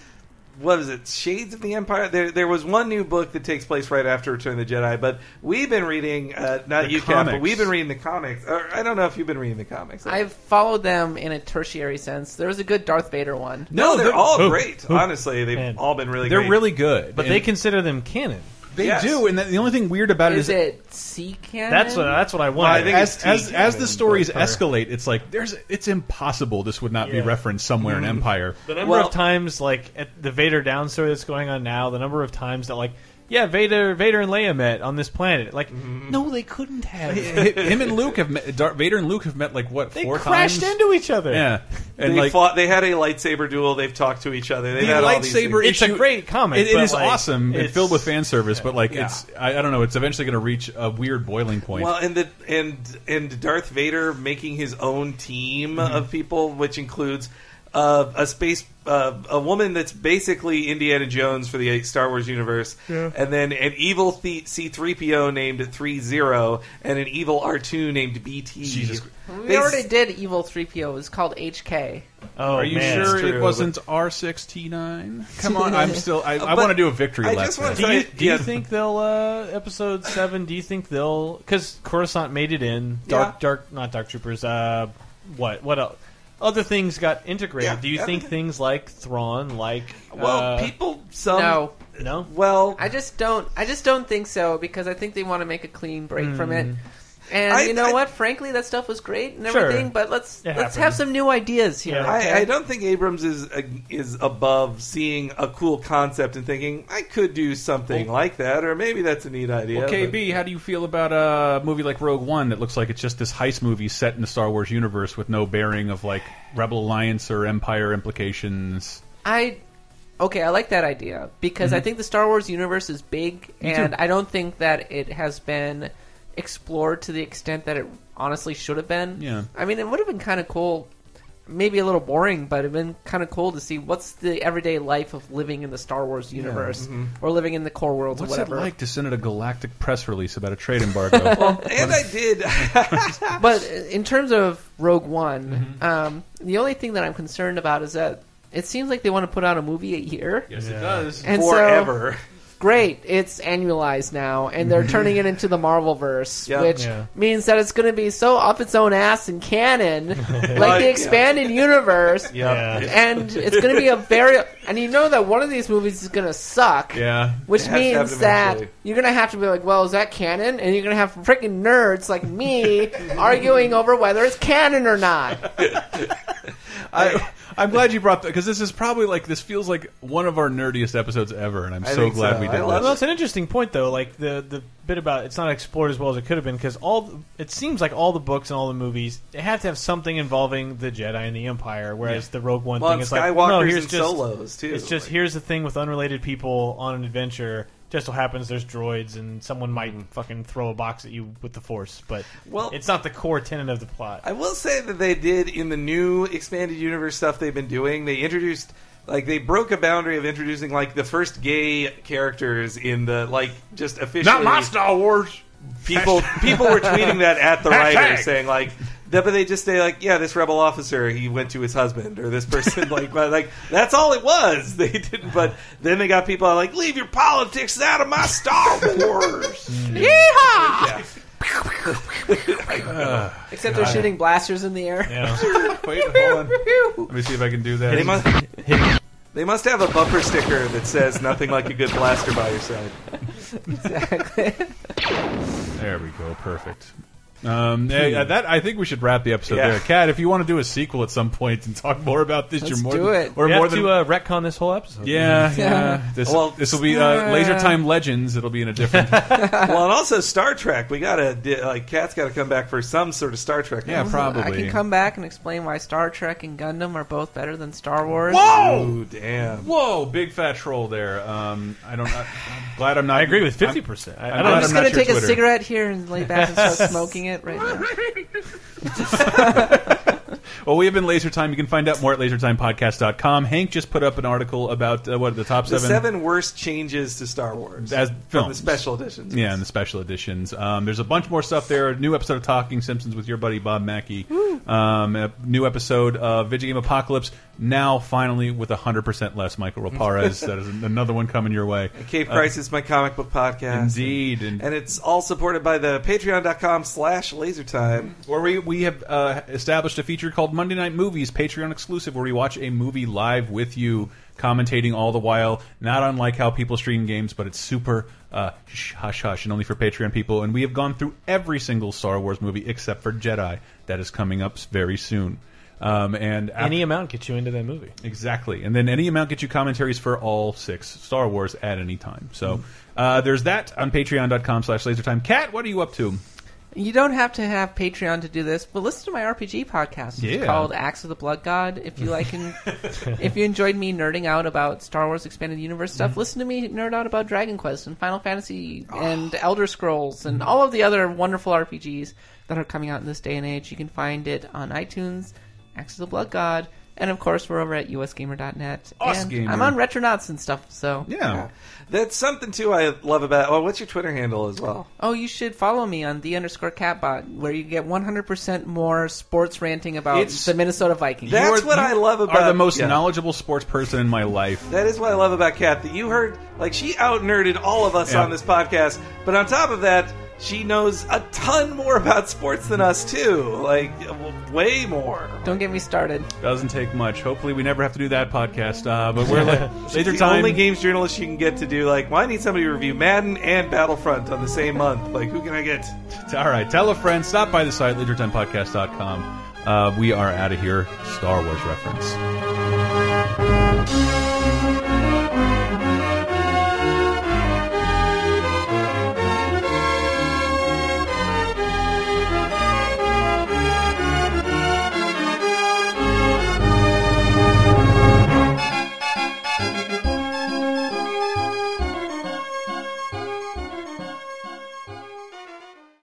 S2: what was it Shades of the Empire. There there was one new book that takes place right after Return of the Jedi. But we've been reading uh, not
S1: The
S2: you Cap, but
S1: comics.
S2: we've been reading the comics. Or, I don't know if you've been reading the comics.
S4: I've followed them in a tertiary sense. There was a good Darth Vader one.
S2: no, they're, all
S1: oh,
S2: great.
S1: oh.
S2: Honestly, they've
S5: Man.
S2: all been really.
S1: they're
S2: great.
S1: really good
S5: But
S1: And
S5: they consider them canon.
S1: they
S2: Yes.
S1: do and that, the only thing weird about it
S4: Is
S1: is
S4: it C canon?
S5: That's what that's what I wanted.
S2: I think it's
S1: as, as, as the stories
S5: But-
S1: escalate, it's like there's it's impossible this would not be
S5: Yeah.
S1: referenced somewhere in
S2: Mm-hmm.
S1: Empire.
S5: the number
S2: well-
S5: of times like at the Vader down story that's going on now, the number of times that like yeah, Vader Vader and Leia met on this planet. Like
S1: Mm-hmm.
S5: no, they couldn't have.
S1: Him and Luke have met. Darth Vader and Luke have met like what
S5: they
S1: four
S5: crashed
S1: times?
S5: into each other.
S1: Yeah, and
S2: they
S1: like
S2: fought. They had a lightsaber duel. They've talked to each other. They've
S1: the
S2: had all these
S1: lightsaber.
S2: things.
S5: It's a
S1: issue-
S5: great comic,
S1: It, it
S5: but,
S1: is
S5: like,
S1: awesome and
S5: it's-
S1: filled with fan service, but like
S2: Yeah.
S1: it's I, I don't know. It's eventually going to reach a weird boiling point.
S2: Well, and the and and Darth Vader making his own team
S1: Mm-hmm.
S2: of people, which includes uh, a space uh, a woman that's basically Indiana Jones for the Star Wars universe, and then an evil C three PO named Three Zero, and an evil R two named BT.
S1: Jesus.
S4: we
S2: They s-
S4: already did Evil 3PO. It was called HK.
S5: Oh,
S1: Are you
S5: man.
S1: sure
S2: It's true,
S1: it wasn't R sixty nine? Come on, I'm still. I, I
S2: But
S1: want to do a victory
S2: I
S1: lap.
S2: just wanna
S1: there.
S5: Do you,
S2: So,
S5: do you
S2: yeah.
S5: think they'll uh, episode seven? Do you think they'll because Coruscant made it in dark,
S2: Yeah.
S5: dark, not dark troopers. Uh, what what else? Other things got integrated.
S2: Yeah,
S5: do you think
S2: everything.
S5: things like Thrawn, like
S2: Well,
S5: uh,
S2: people some
S4: no.
S5: no,
S2: well.
S4: I just don't. I just don't think so because I think they want to make a clean break from it. And
S2: I-
S4: you know
S2: I-
S4: what? Frankly, that stuff was great and
S5: Sure.
S4: everything. But let's
S5: It
S4: let's
S5: happened.
S4: have some new ideas here.
S5: Yeah.
S4: okay?
S2: I, I don't think Abrams is uh, is above seeing a cool concept and thinking I could do something like that, or maybe that's a neat idea.
S1: Well,
S2: but-
S1: KB, how do you feel about a movie like Rogue One that looks like it's just this heist movie set in the Star Wars universe with no bearing of like Rebel Alliance or Empire implications?
S4: I okay, I like that
S1: Mm-hmm.
S4: idea because I think the Star Wars universe is big, and I don't think that it has been explored to the extent that it honestly should have been.
S1: Yeah.
S4: I mean, it would have been kind of cool, maybe a little boring, but it'd been kind of cool to see what's the everyday life of living in the Star Wars universe or living in the core worlds
S1: What's
S4: or
S1: it
S4: whatever.
S1: like to send out a galactic press release about a trade embargo?
S2: And I did.
S4: But in terms of Rogue One,
S1: Mm-hmm.
S4: um, the only thing that I'm concerned about is that it seems like they want to put out a movie a year.
S1: yes, it does.
S4: And so-
S2: Forever.
S4: great, it's annualized now, and they're turning it into the Marvelverse,
S2: Yeah.
S4: which
S5: Yeah.
S4: means that it's going to be so up its own ass in canon, like the
S2: yeah.
S4: expanded universe.
S5: Yeah.
S4: And it's going to be a very, and you know that one of these movies is going to suck.
S1: Yeah.
S4: Which
S2: It has to
S4: means
S2: happen
S4: that
S2: eventually.
S4: you're gonna have to be like, well, is that canon? And you're gonna have freaking nerds like me arguing over whether it's canon or not.
S1: I, I'm glad you brought that because this is probably like this feels like one of our nerdiest episodes ever, and I'm so
S2: think
S1: glad
S2: so.
S1: we
S2: I
S1: did.
S2: love
S1: this.
S5: Well, it's an interesting point though. Like the the bit about it's not explored as well as it could have been because all the- it seems like all the books and all the movies they have to have something involving the Jedi and the Empire, whereas the Rogue One
S2: Well,
S5: thing
S2: and
S5: is like
S2: Skywalkers
S5: no, here's
S2: and
S5: just
S2: Solos, too.
S5: It's just
S2: Like-
S5: here's the thing with unrelated people on an adventure. Just so happens there's droids and someone might fucking throw a box at you with the Force, but
S2: Well-
S5: it's not the core tenet of the plot.
S2: I will say that they did in the new expanded universe stuff they've been doing. They introduced like they broke a boundary of introducing like the first gay characters in the like just officially
S10: Not my Star Wars.
S2: people people were tweeting that at the
S10: Hashtag.
S2: writer saying like that, but they just say like yeah this rebel officer he went to his husband or this person like but like that's all it was they didn't but then they got people like leave your politics out of my Star Wars
S4: Yeehaw! Except they're shooting blasters in the air.
S1: Wait, hold on. Let me see if I can do that.
S2: they must they must have a bumper sticker that says nothing like a good blaster by your side.
S1: There we go. Perfect. Um, eh, uh, that I think we should wrap the episode
S2: Yeah.
S1: there. Kat, if you want to do a sequel at some point and talk more about this, you're more
S4: do
S1: than,
S4: it.
S1: Or
S5: we
S1: more
S5: have
S1: than
S5: to uh, retcon this whole episode.
S1: yeah, yeah. This
S2: Well,
S1: this will be uh, Laser Time Legends. It'll be in a different.
S2: well, and also Star Trek. We gotta di- like Cat's gotta come back for some sort of Star Trek.
S1: yeah, probably.
S4: I can come back and explain why Star Trek and Gundam are both better than Star Wars.
S2: Oh damn!
S1: Whoa, big fat troll there. Um, I don't. I, am glad I'm not.
S5: I agree with fifty percent. I, I
S1: I'm
S5: don't
S1: glad
S4: I'm
S5: know.
S4: just
S1: not
S4: gonna
S1: your
S4: take a
S1: Twitter.
S4: cigarette here and lay back and start smoking it right now.
S1: Well, we have been Laser Time. You can find out more at lasertimepodcast.com. Hank just put up an article about uh, what the top
S2: The
S1: seven,
S2: seven worst changes to Star Wars
S1: as
S2: from the
S1: films.
S2: special editions.
S1: Yeah, and the special editions. Um, there's a bunch more stuff there. A new episode of Talking Simpsons with your buddy Bob Mackey. Um, a new episode of Video Game Apocalypse. Now, finally, with 100% less Michael Raparez. that is another one coming your way.
S2: Cape Crisis, my comic book podcast.
S1: uh, Indeed. And,
S2: And it's all supported by the patreon.com slash lasertime.
S1: where we, we have uh, established a feature called Monday Night Movies, Patreon exclusive, where we watch a movie live with you, commentating all the while, not unlike how people stream games, but it's super uh, shh, hush hush and only for Patreon people. And we have gone through every single Star Wars movie except for Jedi. That is coming up very soon. Um, and after-
S5: Any amount gets you into that movie.
S1: Exactly. And then any amount gets you commentaries for all six Star Wars at any time. So uh, there's that on patreon.com slash lasertime. Kat, what are you up to?
S4: You don't have to have Patreon to do this, but listen to my RPG podcast. It's
S1: Yeah.
S4: called Acts of the Blood God. If you like, and if you enjoyed me nerding out about Star Wars Expanded Universe stuff,
S1: Mm-hmm.
S4: listen to me nerd out about Dragon Quest and Final Fantasy
S1: Ah.
S4: and Elder Scrolls and all of the other wonderful RPGs that are coming out in this day and age. You can find it on iTunes, Acts of the Blood God, and of course we're over at usgamer.net.
S1: Us
S4: and
S1: Gamer.
S4: I'm on Retronauts and stuff. So
S1: Yeah.
S2: That's something, too, I love about... Oh, what's your Twitter handle as well?
S4: Oh, you should follow me on the underscore catbot, where you get 100% more sports ranting about
S1: It's-
S4: the Minnesota Vikings.
S1: You
S2: That's
S1: are-
S2: what
S1: you
S2: I love about...
S1: are the most
S2: Uh, yeah.
S1: knowledgeable sports person in my life.
S2: That is what I love about Kat. That you heard, like, she out nerded all of us
S1: Yeah.
S2: on this podcast. But on top of that, she knows a ton more about sports than us too. Like, w- way more.
S4: Don't get me started.
S1: Doesn't take much. Hopefully, we never have to do that podcast. Uh, but we're like later
S2: the
S1: time.
S2: only games journalist you can get to do like, well, I need somebody to review Madden and Battlefront on the same month. Like, who can I get?
S1: All right, tell a friend. Stop by the site lasertimepodcast.com. Uh, we are out of here. Star Wars reference.